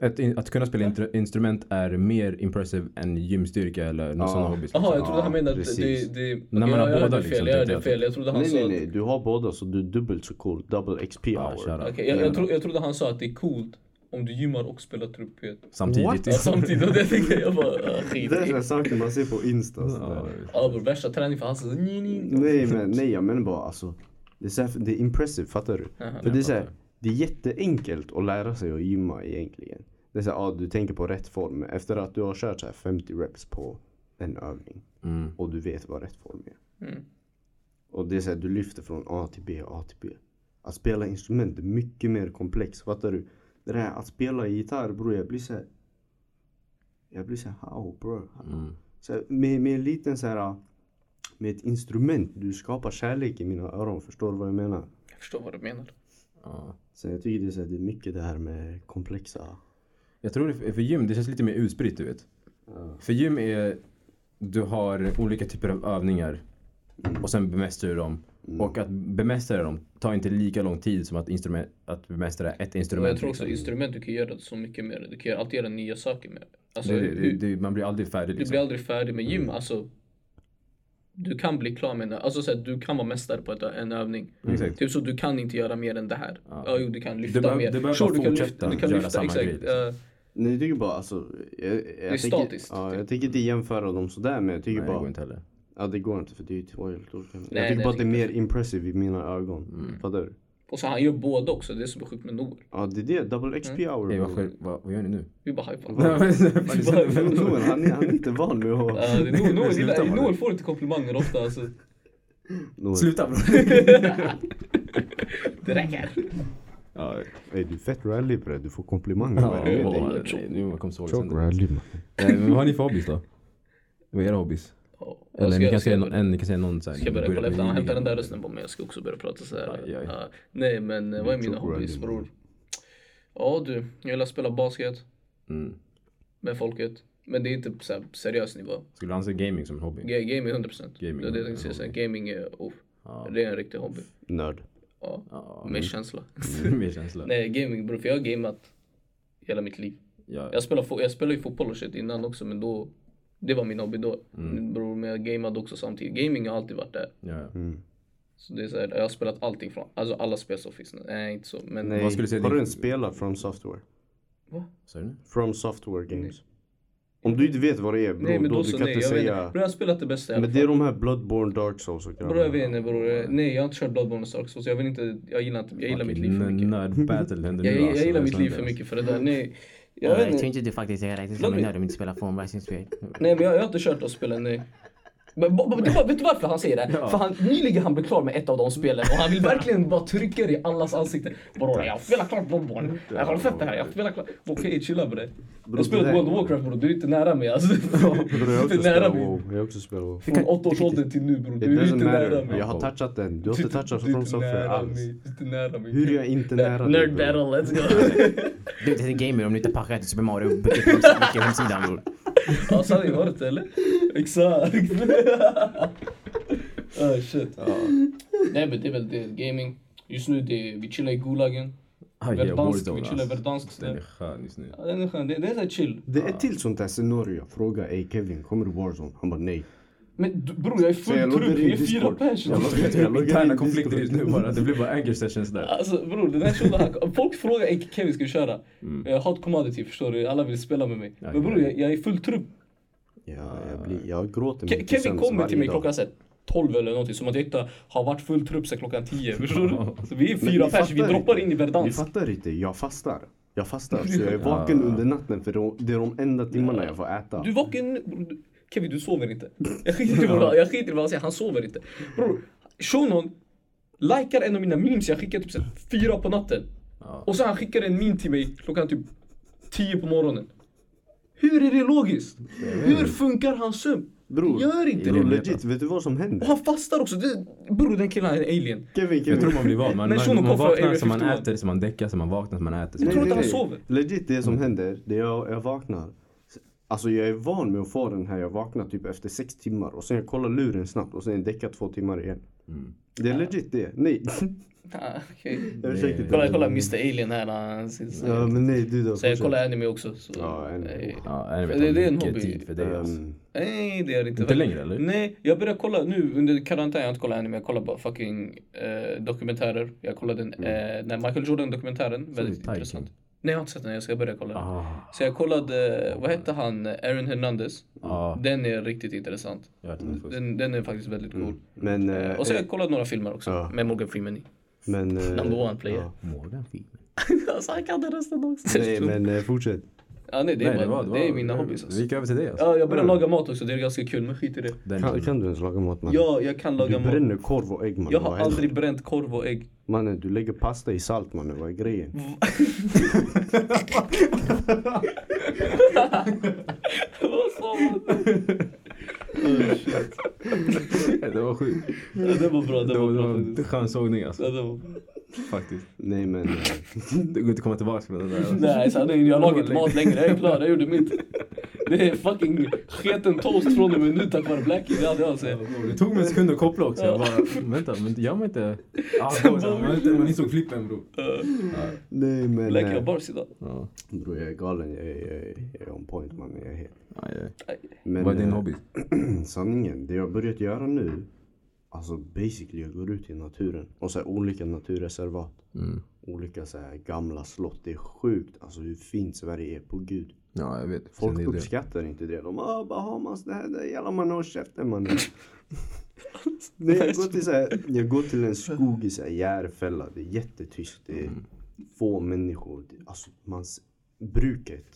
Speaker 3: Att, in, att kunna spela intru- instrument är mer impressive än gymstyrka eller någon
Speaker 1: Ja.
Speaker 3: sån hobby.
Speaker 4: Jaha, jag trodde
Speaker 1: Ja,
Speaker 4: han menade att
Speaker 1: precis.
Speaker 4: det... det Okej,
Speaker 3: man har
Speaker 4: jag- jag
Speaker 3: båda
Speaker 4: hörde
Speaker 3: liksom,
Speaker 4: fel, jag
Speaker 3: tänkte
Speaker 4: hörde
Speaker 3: jag.
Speaker 4: fel. Jag trodde han
Speaker 1: Nej
Speaker 4: sa
Speaker 1: nej
Speaker 4: att...
Speaker 1: nej, du har båda så du är dubbelt så cool. Double XP
Speaker 3: Alltså, Ja,
Speaker 1: hour.
Speaker 3: shout out.
Speaker 4: Okej, jag, jag, tro, jag trodde han sa att det är coolt om du gymmar och spelar trumpet.
Speaker 3: Samtidigt.
Speaker 1: What?
Speaker 4: Ja, samtidigt. Och det tänkte jag, jag bara... ah, Skit.
Speaker 1: Det är sådana saker man ser på Insta.
Speaker 3: Ja,
Speaker 1: sådär.
Speaker 4: Ja, vår värsta träning för han så... Nej, nej.
Speaker 1: Nej men nej jag menar bara alltså. Det är, så här, det är impressive, fattar du?
Speaker 4: Jaha.
Speaker 1: För det är så här, det är jätteenkelt att lära sig att gymma egentligen. Det är så här, ja, du tänker på rätt form. Men Efter att du har kört så här 50 reps på en övning
Speaker 3: Mm.
Speaker 1: och du vet vad rätt form är.
Speaker 4: Mm.
Speaker 1: Och det är så här, du lyfter från A till B, A till B. Att spela instrument är mycket mer komplext, fattar du? Det där att spela gitarr bror, jag blir så här. Jag blir så här, how bro?
Speaker 3: Mm.
Speaker 1: Så här, med, med en liten så här, med ett instrument, du skapar kärlek i mina öron, förstår du vad jag menar?
Speaker 4: Jag förstår vad du menar.
Speaker 3: Ja.
Speaker 1: Så jag tycker det är, så här, det är mycket det här med komplexa.
Speaker 3: Jag tror det för, för gym, det känns lite mer utspritt du vet. För gym är, du har olika typer av övningar och sen bemästrar du dem.
Speaker 1: Mm.
Speaker 3: Och att bemästra dem tar inte lika lång tid som att, instrument, att bemästra ett
Speaker 4: Men
Speaker 3: instrument.
Speaker 4: jag tror också
Speaker 3: liksom.
Speaker 4: instrument, du kan göra så mycket mer. Du kan göra- alltid göra nya saker med det. Alltså,
Speaker 3: det,
Speaker 4: hur-
Speaker 3: det, det, man blir aldrig färdig
Speaker 4: Du
Speaker 3: liksom.
Speaker 4: blir aldrig färdig med gym. Alltså, du kan bli klar med en, alltså, så här, du kan vara mästare på ett, en övning.
Speaker 3: Exakt.
Speaker 4: Typ så, du kan inte göra mer än det här. Ja, jo, du kan lyfta
Speaker 3: behöver-
Speaker 4: mer.
Speaker 3: du behöver bara
Speaker 4: du kan
Speaker 3: fortsätta
Speaker 4: du kan
Speaker 3: göra
Speaker 4: lyfta,
Speaker 3: samma
Speaker 4: exakt.
Speaker 3: grej, liksom.
Speaker 4: Eh,
Speaker 1: Nej, jag tycker bara alltså. Jag, jag det
Speaker 4: är statiskt,
Speaker 1: Ja,
Speaker 4: typ.
Speaker 1: jag tänker inte jämföra dem sådär men jag tycker
Speaker 3: Nej, det
Speaker 1: bara.
Speaker 3: går inte heller.
Speaker 1: Ja det går inte för det är ju två helt olika. jag
Speaker 4: nej,
Speaker 1: tycker bara att det är
Speaker 4: det
Speaker 1: mer impressive i mina ögon.
Speaker 3: Mm.
Speaker 1: Fattar du?
Speaker 4: och så han gör båda också. Det är så sjukt med Noel.
Speaker 1: Ja det är det, double XP
Speaker 4: Mm.
Speaker 1: hour.
Speaker 3: Ey, vad,
Speaker 1: bror.
Speaker 3: skär- vad, vad gör ni nu?
Speaker 4: Vi bara hypar.
Speaker 3: Nej, men- fan,
Speaker 4: Bara-
Speaker 3: det-
Speaker 1: Noel, han, är- han är inte van med att...
Speaker 4: Eh, det är Noel, Noel,
Speaker 3: Sluta
Speaker 4: gillar,
Speaker 3: bara.
Speaker 4: Noel får inte komplimanger ofta. Alltså.
Speaker 1: Noel,
Speaker 3: Sluta bror.
Speaker 4: Det räcker.
Speaker 3: Ja,
Speaker 1: Ey, du är fett rally bre, du får komplimanger.
Speaker 3: ja,
Speaker 1: Vad är det med dig?
Speaker 3: nej, nu kom sågen
Speaker 1: Choke
Speaker 3: sönder.
Speaker 1: rally man.
Speaker 3: Nej, men Vad har ni för hobbies då? Vad är era hobbies?
Speaker 4: Ja, jag
Speaker 3: Eller
Speaker 4: ska-
Speaker 3: ni
Speaker 4: jag
Speaker 3: kan
Speaker 4: ska-
Speaker 3: säga någon, en, ni kan säga någon så här,
Speaker 4: Ska jag börja
Speaker 3: börja
Speaker 4: kolla
Speaker 3: med
Speaker 4: efter? Han
Speaker 3: gym.
Speaker 4: hämtar den där rösten på mig. Jag ska också börja prata så här.
Speaker 3: Aj, aj.
Speaker 4: Ja, nej, men eh, vad är mina
Speaker 1: tror på
Speaker 4: hobbys
Speaker 1: det.
Speaker 4: bror? Ja du, jag gillar att spela basket
Speaker 3: Mm.
Speaker 4: med folket. Men det är inte på så här seriös nivå.
Speaker 3: Skulle du anse gaming som en hobby?
Speaker 4: Ga- Gaming 100%.
Speaker 3: Gaming
Speaker 4: det är det
Speaker 3: är
Speaker 4: jag tänkte säga.
Speaker 3: en
Speaker 4: så här, Gaming är off.
Speaker 3: Ja.
Speaker 4: Det är en riktig hobby.
Speaker 1: Nörd.
Speaker 4: Ja,
Speaker 3: Ja,
Speaker 4: med känsla.
Speaker 3: mm, mer känsla.
Speaker 4: nej, gaming bror. För jag har gamet hela mitt liv.
Speaker 3: Ja.
Speaker 4: Jag spelar, fo- jag spelar ju fotboll och shit innan också men då Det var min hobby då.
Speaker 1: Mm.
Speaker 4: Bror, men jag gamade också samtidigt. Gaming har alltid varit där.
Speaker 3: Ja, ja.
Speaker 4: Så det är så här, jag har spelat allting från, alltså alla spel som finns. Nej, inte så. Men
Speaker 1: Nej.
Speaker 3: Vad skulle du säga
Speaker 1: Har
Speaker 3: din-
Speaker 1: du en spelare from software?
Speaker 4: Va?
Speaker 3: Sa du det?
Speaker 1: From software games. Om du inte vet vad det är bror,
Speaker 4: Nej men
Speaker 1: då,
Speaker 4: då
Speaker 1: du
Speaker 4: så
Speaker 1: kan
Speaker 4: nej.
Speaker 1: inte
Speaker 4: Jag vet inte.
Speaker 1: säga.
Speaker 4: Bror jag har spelat det bästa i alla
Speaker 1: Men det är
Speaker 4: fall.
Speaker 1: de här Bloodborne, Dark Souls och
Speaker 4: Bror jag vet inte bror. Nej jag har inte kört Bloodborne och Stark Souls. Jag vill inte, jag gillar inte, jag gillar mitt liv för mycket.
Speaker 3: Nerd battle händer
Speaker 4: Jag,
Speaker 3: nu
Speaker 4: jag,
Speaker 3: alltså.
Speaker 4: jag gillar mitt
Speaker 3: Sånt
Speaker 4: liv
Speaker 3: där,
Speaker 4: för
Speaker 3: alltså.
Speaker 4: mycket för det där. Nej. Jag
Speaker 6: Jag,
Speaker 4: vet
Speaker 6: tror
Speaker 4: inte.
Speaker 6: inte du faktiskt är räknas som en nörd om du inte spelar formversioningsspel.
Speaker 4: Nej men jag, jag har inte kört de spelen nej. Men, ba- ba- det var, vet du varför han säger det? För han, nyligen han blev klar med ett av de spelen och han vill verkligen bara trycka det i allas ansikten. Bror jag spelar klart Bloodborne. Jag har sett det här, jag spelar klart. Okej chilla bre.
Speaker 1: det
Speaker 4: Jag spelar
Speaker 1: där-
Speaker 4: World of Warcraft bror, du är inte nära mig alltså.
Speaker 1: Bror, jag har
Speaker 4: Du är
Speaker 1: också
Speaker 4: inte nära
Speaker 1: spelat
Speaker 4: mig.
Speaker 1: WoW. Jag har också spelat WoW.
Speaker 4: Från åttaårsåldern till nu bror,
Speaker 1: It
Speaker 4: du är
Speaker 1: doesn't
Speaker 4: inte nära
Speaker 1: matter.
Speaker 4: mig.
Speaker 1: Jag har touchat den. Du har inte touchat
Speaker 4: Du är
Speaker 1: from
Speaker 4: inte
Speaker 1: software
Speaker 4: nära
Speaker 1: alls.
Speaker 4: mig, du är inte nära mig.
Speaker 1: Hur är jag inte nära dig,
Speaker 4: Nerd
Speaker 1: bror?
Speaker 4: battle, let's go.
Speaker 6: Du är inte en gamer om du inte packar till Super Mario och byter hems- mycket hemsida bror.
Speaker 4: Ja sanningen har det eller? Exakt. Ah shit. Nej men det är väl det, gaming. Just nu det, vi chillar i Gulagen.
Speaker 3: Aj, ja,
Speaker 4: Verdansk,
Speaker 3: Warzone,
Speaker 4: vi chillar
Speaker 3: alltså.
Speaker 4: verdansk
Speaker 3: Den är
Speaker 4: snö.
Speaker 3: skön just nu.
Speaker 4: Ja, den är skön, det, det är såhär chill.
Speaker 1: Det är ett till sånt där scenario. Jag frågar ey Kevin, kommer du Warzone? Han bara nej.
Speaker 4: Men du- bror jag är
Speaker 1: Så jag
Speaker 4: full
Speaker 1: loggar
Speaker 4: trupp,
Speaker 1: in i
Speaker 4: vi är fyra
Speaker 1: Discord.
Speaker 4: pers.
Speaker 1: Jag loggar- jag loggar in
Speaker 3: Interna
Speaker 1: i
Speaker 3: konflikter
Speaker 1: Discord.
Speaker 3: just nu bara. Det blir bara anger sessions där.
Speaker 4: Alltså bror, den här shunon, han- folk frågar "Ey, Kevin ska vi köra? Mm. Hot commodity förstår du, alla vill spela med mig. Men bror jag, jag är full trupp.
Speaker 1: Ja, jag, blir, jag gråter
Speaker 4: Ke-
Speaker 1: mig till
Speaker 4: Kevin
Speaker 1: sömns
Speaker 4: kommer
Speaker 1: varje
Speaker 4: till mig
Speaker 1: dag.
Speaker 4: klockan så här 12 eller någonting som att jag inte har varit full trupp sedan klockan 10. Förstår du? Så vi är
Speaker 1: Men
Speaker 4: fyra
Speaker 1: ni
Speaker 4: pers, vi
Speaker 1: fattar
Speaker 4: droppar
Speaker 1: inte.
Speaker 4: in
Speaker 1: Ni
Speaker 4: i Verdansk.
Speaker 1: fattar inte, jag fastar. Jag fastar, så jag är vaken under natten för de- det är de enda timmarna jag får äta.
Speaker 4: Du är vaken nu. Bror, du- Kevin du sover inte. Jag skiter i vad, jag skiter i vad han säger, han sover inte. Bror, shunon likar en av mina memes jag skickar typ så här fyra på natten. Och så han skickar en meme till mig klockan typ 10 på morgonen. Hur är det logiskt? Hur funkar hans sömn?
Speaker 1: Bror,
Speaker 4: Gör inte
Speaker 1: bror,
Speaker 4: det.
Speaker 1: legit, vet du vad som händer?
Speaker 4: Och han fastar också. Det, bror den killen är en alien.
Speaker 1: Kevin, Kevin.
Speaker 3: Jag tror man blir van. Man,
Speaker 4: Men
Speaker 3: man,
Speaker 4: shunon kom
Speaker 3: man
Speaker 4: från
Speaker 3: vaknar
Speaker 4: Area
Speaker 3: så man
Speaker 4: 51.
Speaker 3: äter, så man däckar, så man vaknar, så man äter.
Speaker 4: Jag
Speaker 3: Så
Speaker 1: Nej,
Speaker 4: tror
Speaker 1: nej,
Speaker 4: inte han
Speaker 1: nej.
Speaker 4: sover.
Speaker 1: Legit, det som händer, det är jag, jag vaknar. Alltså jag är van med att få den här, jag vaknar typ efter sex timmar och sen jag kollar luren snabbt och sen däckar två timmar igen.
Speaker 4: Mm.
Speaker 1: Det är legit det. Nej.
Speaker 4: Ah, okej.
Speaker 1: jag försökte inte.
Speaker 4: Kolla, kolla Mr Alien här. Han sitter
Speaker 1: Ja men nej du då.
Speaker 4: Så jag
Speaker 1: fortsätt.
Speaker 4: kollar anime också. Så.
Speaker 1: Ja, anime.
Speaker 4: Nej.
Speaker 3: Ja, jag vet
Speaker 4: Det- det är en
Speaker 3: mycket
Speaker 4: hobby.
Speaker 3: tid för dig alltså.
Speaker 1: Ehm,
Speaker 4: Nej, det är det inte.
Speaker 3: Inte längre, eller?
Speaker 4: Nej, jag började kolla nu under karantän. Jag har inte kollat anime. Jag kollar bara fucking eh, dokumentärer. Jag kollade den,
Speaker 1: Mm.
Speaker 4: eh, den här Michael Jordan-dokumentären. Väldigt
Speaker 3: Titan.
Speaker 4: intressant. Nej, jag har inte sett den. Jag ska börja kolla den.
Speaker 3: Ah,
Speaker 4: Så jag kollade, eh, vad hette han, Aaron Hernandez.
Speaker 3: Ja.
Speaker 4: Den är riktigt intressant.
Speaker 3: jag vet inte.
Speaker 4: Den, den är faktiskt väldigt cool.
Speaker 1: Men, eh,
Speaker 4: Och så har jag kollat några filmer också
Speaker 1: Ja.
Speaker 4: med Morgan Freeman i.
Speaker 1: men, eh,
Speaker 4: Number one player.
Speaker 3: Morgan Freeman.
Speaker 4: alltså han kan den resten också.
Speaker 1: Nej men eh, fortsätt.
Speaker 4: Ja, nej, det, är
Speaker 3: Nej,
Speaker 4: bara,
Speaker 3: det, var,
Speaker 4: det,
Speaker 3: det, var,
Speaker 4: är mina hobbys.
Speaker 3: Vi
Speaker 4: Alltså.
Speaker 3: gick över till dig alltså.
Speaker 4: Ja, jag börjar
Speaker 1: Mm.
Speaker 4: laga mat också, det är ganska kul, men skit i det.
Speaker 3: Den,
Speaker 1: Kan, kan du ens laga mat mannen?
Speaker 4: Ja, jag kan laga
Speaker 1: Du
Speaker 4: mat.
Speaker 1: bränner korv och ägg mannen.
Speaker 4: Jag
Speaker 1: Vad
Speaker 4: har
Speaker 1: händer?
Speaker 4: aldrig bränt korv och ägg.
Speaker 1: Mannen du lägger pasta i salt mannen, vad är grejen?
Speaker 4: Vad sa man?
Speaker 3: det var sjukt.
Speaker 4: Det var bra,
Speaker 3: Det
Speaker 4: det var
Speaker 3: var, det
Speaker 4: bra
Speaker 3: var
Speaker 4: faktiskt.
Speaker 3: en skön sågning alltså.
Speaker 4: Ja, det var bra.
Speaker 3: Faktiskt.
Speaker 1: Nej men. eh,
Speaker 3: Det går inte att komma tillbaka från den där. Alltså.
Speaker 4: Nej, så nej, jag lagar inte mat längre. Jag är klar, jag gjorde mitt. Det är fucking sketen toast från och med nu tack vare Blackie. Det hade jag alltså. sett.
Speaker 3: Det tog mig en sekund att koppla också. Jag bara, vänta, men gör man inte... Ah, man, man, inte- man insåg flippen bror.
Speaker 1: Nej men.
Speaker 4: Blackie
Speaker 1: eh,
Speaker 4: har bars idag.
Speaker 3: Ja.
Speaker 1: Bror jag är galen, jag är, jag är, jag är on point mannen, jag är helt.
Speaker 3: Aj, aj.
Speaker 1: Men,
Speaker 3: Vad är din
Speaker 1: eh,
Speaker 3: hobby?
Speaker 1: sanningen, det jag börjat göra nu. Alltså basically jag går ut i naturen. Och så här, olika naturreservat.
Speaker 3: mm.
Speaker 1: Olika så här, gamla slott. Det är sjukt alltså hur fint Sverige är på gud.
Speaker 3: Ja, jag vet.
Speaker 1: Folk
Speaker 3: Sen är det-
Speaker 1: uppskattar inte det. De bara ah, Bahamas, det här, det här jävla man har käften mannen. Nej, jag, går till så här, jag går till en skog i så här Järfälla. Det är jättetyst. Det
Speaker 3: Mm.
Speaker 1: är få människor. Det, alltså man, s- bruket.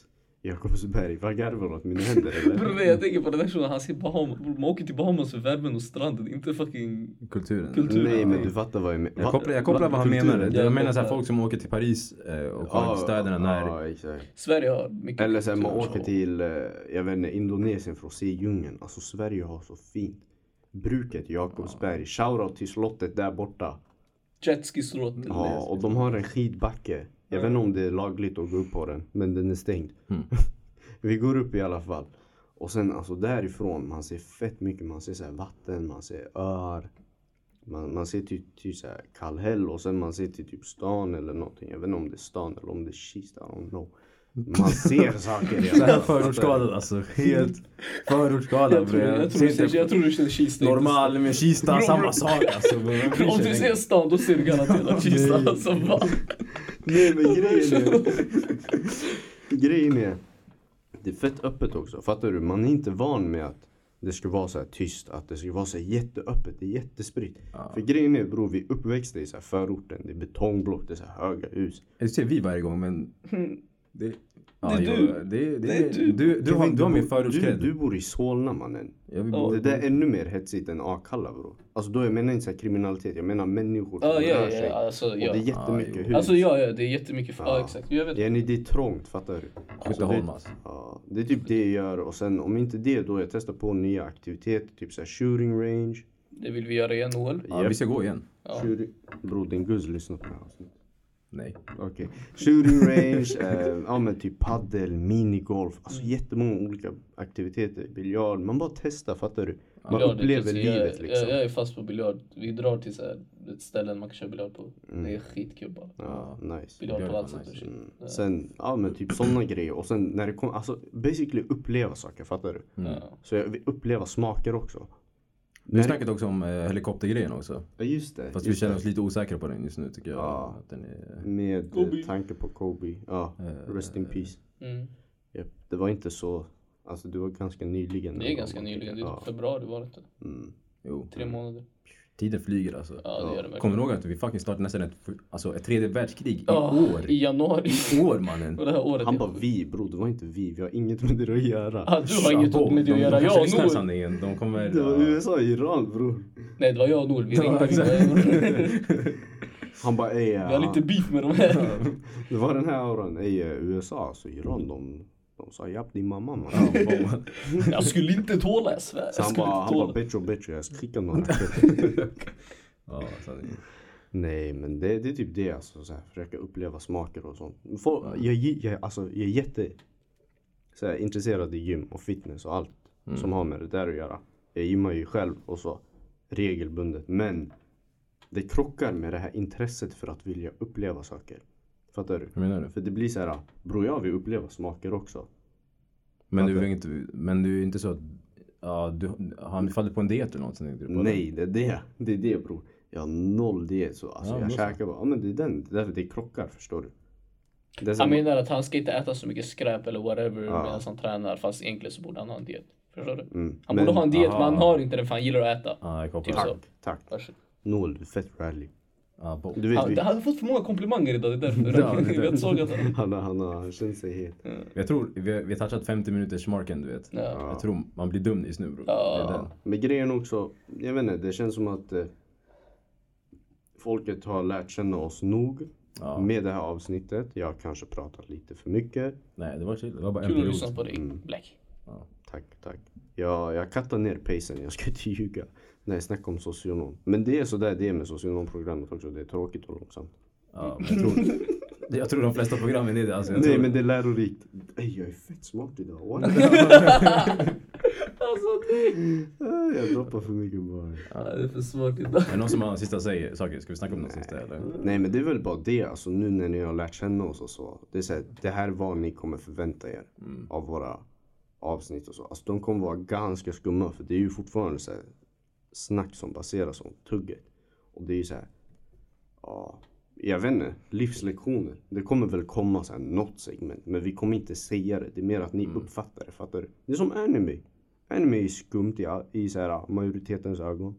Speaker 1: Jakobsberg, vad garvar du åt mina händer
Speaker 4: Bror
Speaker 1: eller?
Speaker 4: nej, jag tänker på den där shunon, han säger Bahamas. Bror man åker till Bahamas för värmen och stranden, inte fucking...
Speaker 3: Kulturen.
Speaker 4: Kultur.
Speaker 1: Nej men du fattar vad jag menar.
Speaker 3: Jag kopplar, jag kopplar vad han
Speaker 1: Kulturen.
Speaker 3: menade. Jag
Speaker 4: Jag
Speaker 3: menar såhär
Speaker 4: kopplar.
Speaker 3: folk som åker till Paris eh, och kollar på städerna när...
Speaker 1: Ja, exakt.
Speaker 4: Sverige har mycket
Speaker 1: Eller sen man
Speaker 4: kultur,
Speaker 1: åker
Speaker 4: så-
Speaker 1: till eh, jag vet inte, Indonesien för att se djungeln. Alltså Sverige har så fint. Bruket Jakobsberg. Shoutout till slottet där borta.
Speaker 4: Jetski-stråt.
Speaker 1: Ja, och de har en skidbacke. Jag vet inte om det är lagligt att gå upp på den, men den är stängd. Vi går upp i alla fall. Och sen alltså därifrån, man ser fett mycket. Man ser så här vatten, man ser öar. Man, man ser typ, typ så här Kallhäll och sen man ser till typ stan eller någonting. Jag vet inte om det är stan eller om det är Kista. I don't know. Man ser saker.
Speaker 3: Så här
Speaker 1: Jag
Speaker 3: förortsskadad alltså. Helt förortsskadad
Speaker 4: Jag
Speaker 3: bror.
Speaker 4: tror, jag, tror,
Speaker 3: ser
Speaker 4: jag,
Speaker 3: inte-
Speaker 4: tror, jag tror du känner Kista. inte
Speaker 3: Normal med Kista,
Speaker 4: Bror,
Speaker 3: samma
Speaker 4: bror.
Speaker 3: sak alltså. bror.
Speaker 4: så-
Speaker 3: Jag bryr
Speaker 4: Om
Speaker 3: sig
Speaker 4: du ser
Speaker 3: längre.
Speaker 4: stan då ser du garanterat Kista. Alltså, va?
Speaker 1: Nej men grejen är. grejen är. Det är fett öppet också. Fattar du? Man är inte van med att det ska vara så här tyst. Att det ska vara så här jätteöppet. Det är jättespritt. För grejen är bror, vi uppväxte i så här förorten. Det är betongblock, det är så här höga hus.
Speaker 3: Det ser vi varje gång men... Det,
Speaker 4: är
Speaker 3: jo,
Speaker 4: du.
Speaker 3: Det, det,
Speaker 4: Det är
Speaker 3: du.
Speaker 4: du.
Speaker 3: Du, du, har,
Speaker 1: Kevin,
Speaker 3: du har min
Speaker 1: bor- du, du
Speaker 3: förortskredd.
Speaker 1: bor i Solna mannen.
Speaker 3: Jag vill
Speaker 4: Ja.
Speaker 3: bo-
Speaker 1: Det där är ännu mer hetsigt än Akalla bror. Alltså då jag menar inte så här kriminalitet. Jag menar människor som
Speaker 4: Ja, ja,
Speaker 1: rör sig.
Speaker 4: ja, alltså,
Speaker 1: Och
Speaker 4: ja.
Speaker 1: det är jättemycket
Speaker 3: Ja,
Speaker 1: hus.
Speaker 4: Alltså ja, ja, det är jättemycket. Ja,
Speaker 1: Ja.
Speaker 4: exakt. Jag vet.
Speaker 1: Jenny, det är trångt, fattar du? Alltså,
Speaker 3: Skytteholm
Speaker 1: det,
Speaker 3: alltså.
Speaker 1: ja, det är typ det jag gör och sen om inte det då, jag testar på nya aktiviteter, typ såhär shooting range.
Speaker 4: Det vill vi göra igen, Noel.
Speaker 3: Ja, vi ska gå igen.
Speaker 4: Ja.
Speaker 1: Shooting... Bror din guzz lyssnar på det här avsnittet.
Speaker 3: Nej.
Speaker 1: Okej. Shooting range, eh, ja men typ paddel, minigolf, alltså jättemånga olika aktiviteter. Biljard, man bara testar, fattar du? Man
Speaker 4: Biljard,
Speaker 1: upplever
Speaker 4: jag-
Speaker 1: livet
Speaker 4: jag,
Speaker 1: liksom.
Speaker 4: Jag, jag är fast på biljard. Vi drar till så här, ett ställe man kan köra biljard på.
Speaker 1: Mm.
Speaker 4: Det är skitkul bara.
Speaker 1: Ja, nice.
Speaker 4: Biljard
Speaker 3: Biljard
Speaker 4: på typ.
Speaker 3: är
Speaker 4: allt
Speaker 3: fan
Speaker 4: sätt och
Speaker 3: nice.
Speaker 4: shit.
Speaker 1: Mm. Sen, ja men typ sådana grejer och sen när det kommer, alltså basically uppleva saker, fattar du?
Speaker 3: Mm.
Speaker 4: Ja.
Speaker 1: Så jag vill uppleva smaker också.
Speaker 3: Vi snackade också om eh, helikoptergrejen också.
Speaker 1: Ja just det.
Speaker 3: Fast vi
Speaker 1: just
Speaker 3: känner
Speaker 1: det.
Speaker 3: oss lite osäkra på den just nu tycker jag.
Speaker 1: Ja.
Speaker 3: Att den är...
Speaker 1: Med eh,
Speaker 4: Kobe.
Speaker 1: tanke på Kobe. Ja,
Speaker 3: Eh,
Speaker 1: rest in peace.
Speaker 4: Mm.
Speaker 1: Japp, Det var inte så... Alltså det var ganska nyligen.
Speaker 4: Det är ganska nyligen. Det är
Speaker 1: Ja.
Speaker 4: typ februari var det inte.
Speaker 1: Mm.
Speaker 3: Jo.
Speaker 4: Tre månader.
Speaker 3: Tiden flyger alltså.
Speaker 4: Ja, det gör det
Speaker 3: Kommer
Speaker 4: verkligen.
Speaker 3: du ihåg att vi fucking startade nästan ett, alltså ett tredje världskrig i
Speaker 4: Ja,
Speaker 3: år?
Speaker 4: I januari.
Speaker 3: I år mannen.
Speaker 4: Och det här året.
Speaker 1: Han
Speaker 4: är-
Speaker 1: bara vi bror, det var inte vi. Vi har inget med det att göra.
Speaker 4: Ah, du har inget med det att
Speaker 3: de,
Speaker 4: göra.
Speaker 3: De kanske
Speaker 4: Jag och
Speaker 3: lyssnar i
Speaker 4: Noel.
Speaker 3: sanningen. De kommer...
Speaker 1: Det var USA och Iran bror.
Speaker 4: Nej, det var jag och Noel. Vi
Speaker 3: Ja,
Speaker 4: ringde.
Speaker 3: exakt.
Speaker 1: Han bara ey.
Speaker 4: Vi har
Speaker 1: eh,
Speaker 4: lite beef med de här.
Speaker 1: Det var den här auran. Ey eh, USA alltså Iran de, de sa japp din mamma man.
Speaker 4: Jag skulle inte tåla, jag svär.
Speaker 1: Så
Speaker 4: Jag
Speaker 1: han
Speaker 4: skulle
Speaker 1: bara,
Speaker 4: inte
Speaker 1: han bara
Speaker 4: tåla.
Speaker 1: bitch och bitch jag ska skicka några raketer.
Speaker 3: ja, sanningen.
Speaker 1: Nej men det, det är typ det alltså. Så här, försöka uppleva smaker och sånt. Få- jag, gi- jag, alltså, jag är jätte så här, intresserad i gym och fitness och allt
Speaker 3: Mm.
Speaker 1: som har med det där att göra. Jag gymmar ju själv och så regelbundet. Men det krockar med det här intresset för att vilja uppleva saker. Fattar du?
Speaker 3: Hur menar du?
Speaker 1: För det blir så här, bror jag vill uppleva smaker också.
Speaker 3: Men du, är inte, men du är inte så att... Ja, du, har han fallit på en diet eller något? sen tänkte du på det?
Speaker 1: Nej, det är det. Det är det bror. Jag har noll diet så alltså
Speaker 3: Ja,
Speaker 1: jag
Speaker 3: då så.
Speaker 1: käkar bara. Ja men det är den. Det är därför det krockar förstår du. Det är så
Speaker 4: Han
Speaker 1: här-
Speaker 4: menar att han ska inte äta så mycket skräp eller whatever
Speaker 1: Ja.
Speaker 4: medan han tränar. Fast egentligen så borde han ha en diet. Förstår du?
Speaker 1: Mm,
Speaker 4: Han
Speaker 1: men-
Speaker 4: borde ha en diet,
Speaker 3: aha.
Speaker 4: men han har inte den för han gillar att äta.
Speaker 3: Ja, jag kopplar.
Speaker 4: Typ
Speaker 3: Alltså, Tack.
Speaker 4: så.
Speaker 1: Tack, tack.
Speaker 4: Varsågod.
Speaker 1: Noel, du är fett rally.
Speaker 3: Ja, bo.
Speaker 1: Du vet,
Speaker 4: Han,
Speaker 1: vi,
Speaker 4: han har fått för många komplimanger idag, det är därför.
Speaker 3: Ja, det är det.
Speaker 4: jag såg att han...
Speaker 1: han, har- han, har- han känner sig het.
Speaker 3: Jag tror vi har, vi har touchat 50 minuters marken, du vet.
Speaker 4: Ja.
Speaker 3: Jag tror man blir dum just nu bror.
Speaker 4: Ja.
Speaker 3: Det är den.
Speaker 1: Men grejen också, jag vet inte, det känns som att eh, folket har lärt känna oss nog
Speaker 3: Ja.
Speaker 1: med det här avsnittet. Jag har kanske pratat lite för mycket.
Speaker 3: Nej, det var chill. Det var bara en
Speaker 4: Kul att lyssna
Speaker 3: period.
Speaker 4: på dig,
Speaker 1: Mm.
Speaker 4: Black.
Speaker 1: Tack, tack. Jag, jag kattar ner pacen, jag ska inte ljuga. När jag snackar om socionom. Men det är sådär det är med socionomprogrammet också. Det är tråkigt och långsamt.
Speaker 3: Ja, men jag, tror, jag tror de flesta programmen är det. Alltså, jag
Speaker 1: Nej
Speaker 3: tror,
Speaker 1: men det är lärorikt. Ey, jag är fett smart idag. What?
Speaker 4: Alltså,
Speaker 1: Ah, jag droppar för mycket bara.
Speaker 4: det är för svårt idag.
Speaker 3: Är det någon som har sista säger, saker? Ska vi snacka om något sista eller?
Speaker 1: Eh, Nej men det är väl bara det, alltså nu när ni har lärt känna oss och så. Det är så här, det här är vad ni kommer förvänta er av våra avsnitt och så. Alltså de kommer vara ganska skumma för det är ju fortfarande så här, snack som baseras om tugget. Och det är ju så här, ja, jag vet inte, livslektioner. Det kommer väl komma så här något segment, men vi kommer inte säga det. Det är mer att ni uppfattar det, fattar du? Det är som anime. Anime är skumt i, i så här, majoritetens ögon.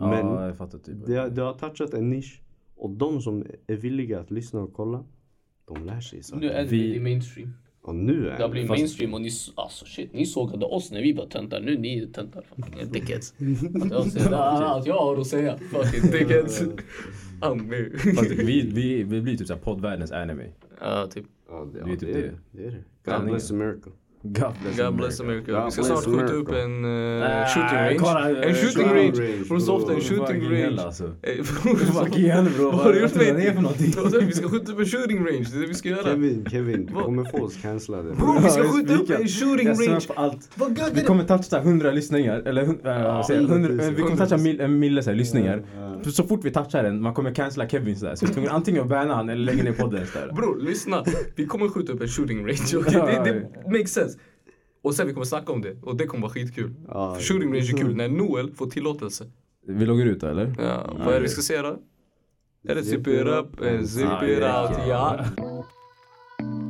Speaker 1: Men-
Speaker 3: ja, jag fattar typ.
Speaker 1: Det, det har touchat en nisch. Och de som är villiga att lyssna och kolla, de lär sig saker.
Speaker 4: Nu är
Speaker 3: Vi-
Speaker 4: det mainstream.
Speaker 1: och nu är
Speaker 4: Det har blivit
Speaker 3: Fast-
Speaker 4: mainstream och ni, s- alltså shit, ni sågade oss när vi var töntar. Nu ni är töntar. Fucking dickheads. Att jag säger det här är allt jag har att säga. Fucking dickheads. Amu.
Speaker 3: Fast vi, vi, vi blir typ såhär poddvärldens anime.
Speaker 4: Ja, typ.
Speaker 1: ja, det,
Speaker 3: det är typ
Speaker 1: det, är det. det är det. God bless America.
Speaker 3: God bless
Speaker 4: God bless
Speaker 3: America.
Speaker 4: America. Vi ska
Speaker 1: God
Speaker 4: snart
Speaker 1: bless
Speaker 4: skjuta
Speaker 1: America.
Speaker 4: upp en eh,
Speaker 3: Ah,
Speaker 4: shooting range.
Speaker 3: kolla, eh,
Speaker 4: En shooting
Speaker 3: shooting
Speaker 4: range.
Speaker 1: range,
Speaker 4: Från Softa, en
Speaker 1: bro.
Speaker 4: shooting
Speaker 3: Fucking hell,
Speaker 4: range.
Speaker 3: Alltså.
Speaker 4: Eh,
Speaker 3: Fucking hell bro.
Speaker 4: Vad har du gjort med
Speaker 3: det för någonting?
Speaker 4: mig? Vi ska skjuta upp en shooting range, det är det vi ska göra.
Speaker 1: Kevin, Kevin, du
Speaker 4: Vad?
Speaker 1: kommer få oss cancellade.
Speaker 4: Bro, vi ska
Speaker 3: Ja, jag
Speaker 4: skjuta upp
Speaker 3: spikar.
Speaker 4: en shooting
Speaker 3: Jag svär
Speaker 4: range.
Speaker 3: på allt.
Speaker 4: Vad gaggar
Speaker 3: Vi
Speaker 4: det?
Speaker 3: kommer toucha 100 lyssningar, eller hund- äh, vad säger jag? 100, eh, vi kommer toucha mil, en mille så här, lyssningar. Så- Så fort vi touchar den, man kommer cancella Kevin sådär. Så vi kommer antingen att banna han eller lägga ner podden sådär.
Speaker 4: Bror, lyssna. Vi kommer skjuta upp en shooting range. okej? Det, det makes sense. Och sen vi kommer snacka om det och det kommer vara skitkul.
Speaker 1: Ja, Mm.
Speaker 4: För shooting range är kul när Noel får tillåtelse.
Speaker 3: Vi loggar ut då, eller?
Speaker 4: Ja, vad är det vi ska Eh, säga då? Är det zip it up and zip
Speaker 3: Ah,
Speaker 4: it
Speaker 3: yeah.
Speaker 4: out? Ja.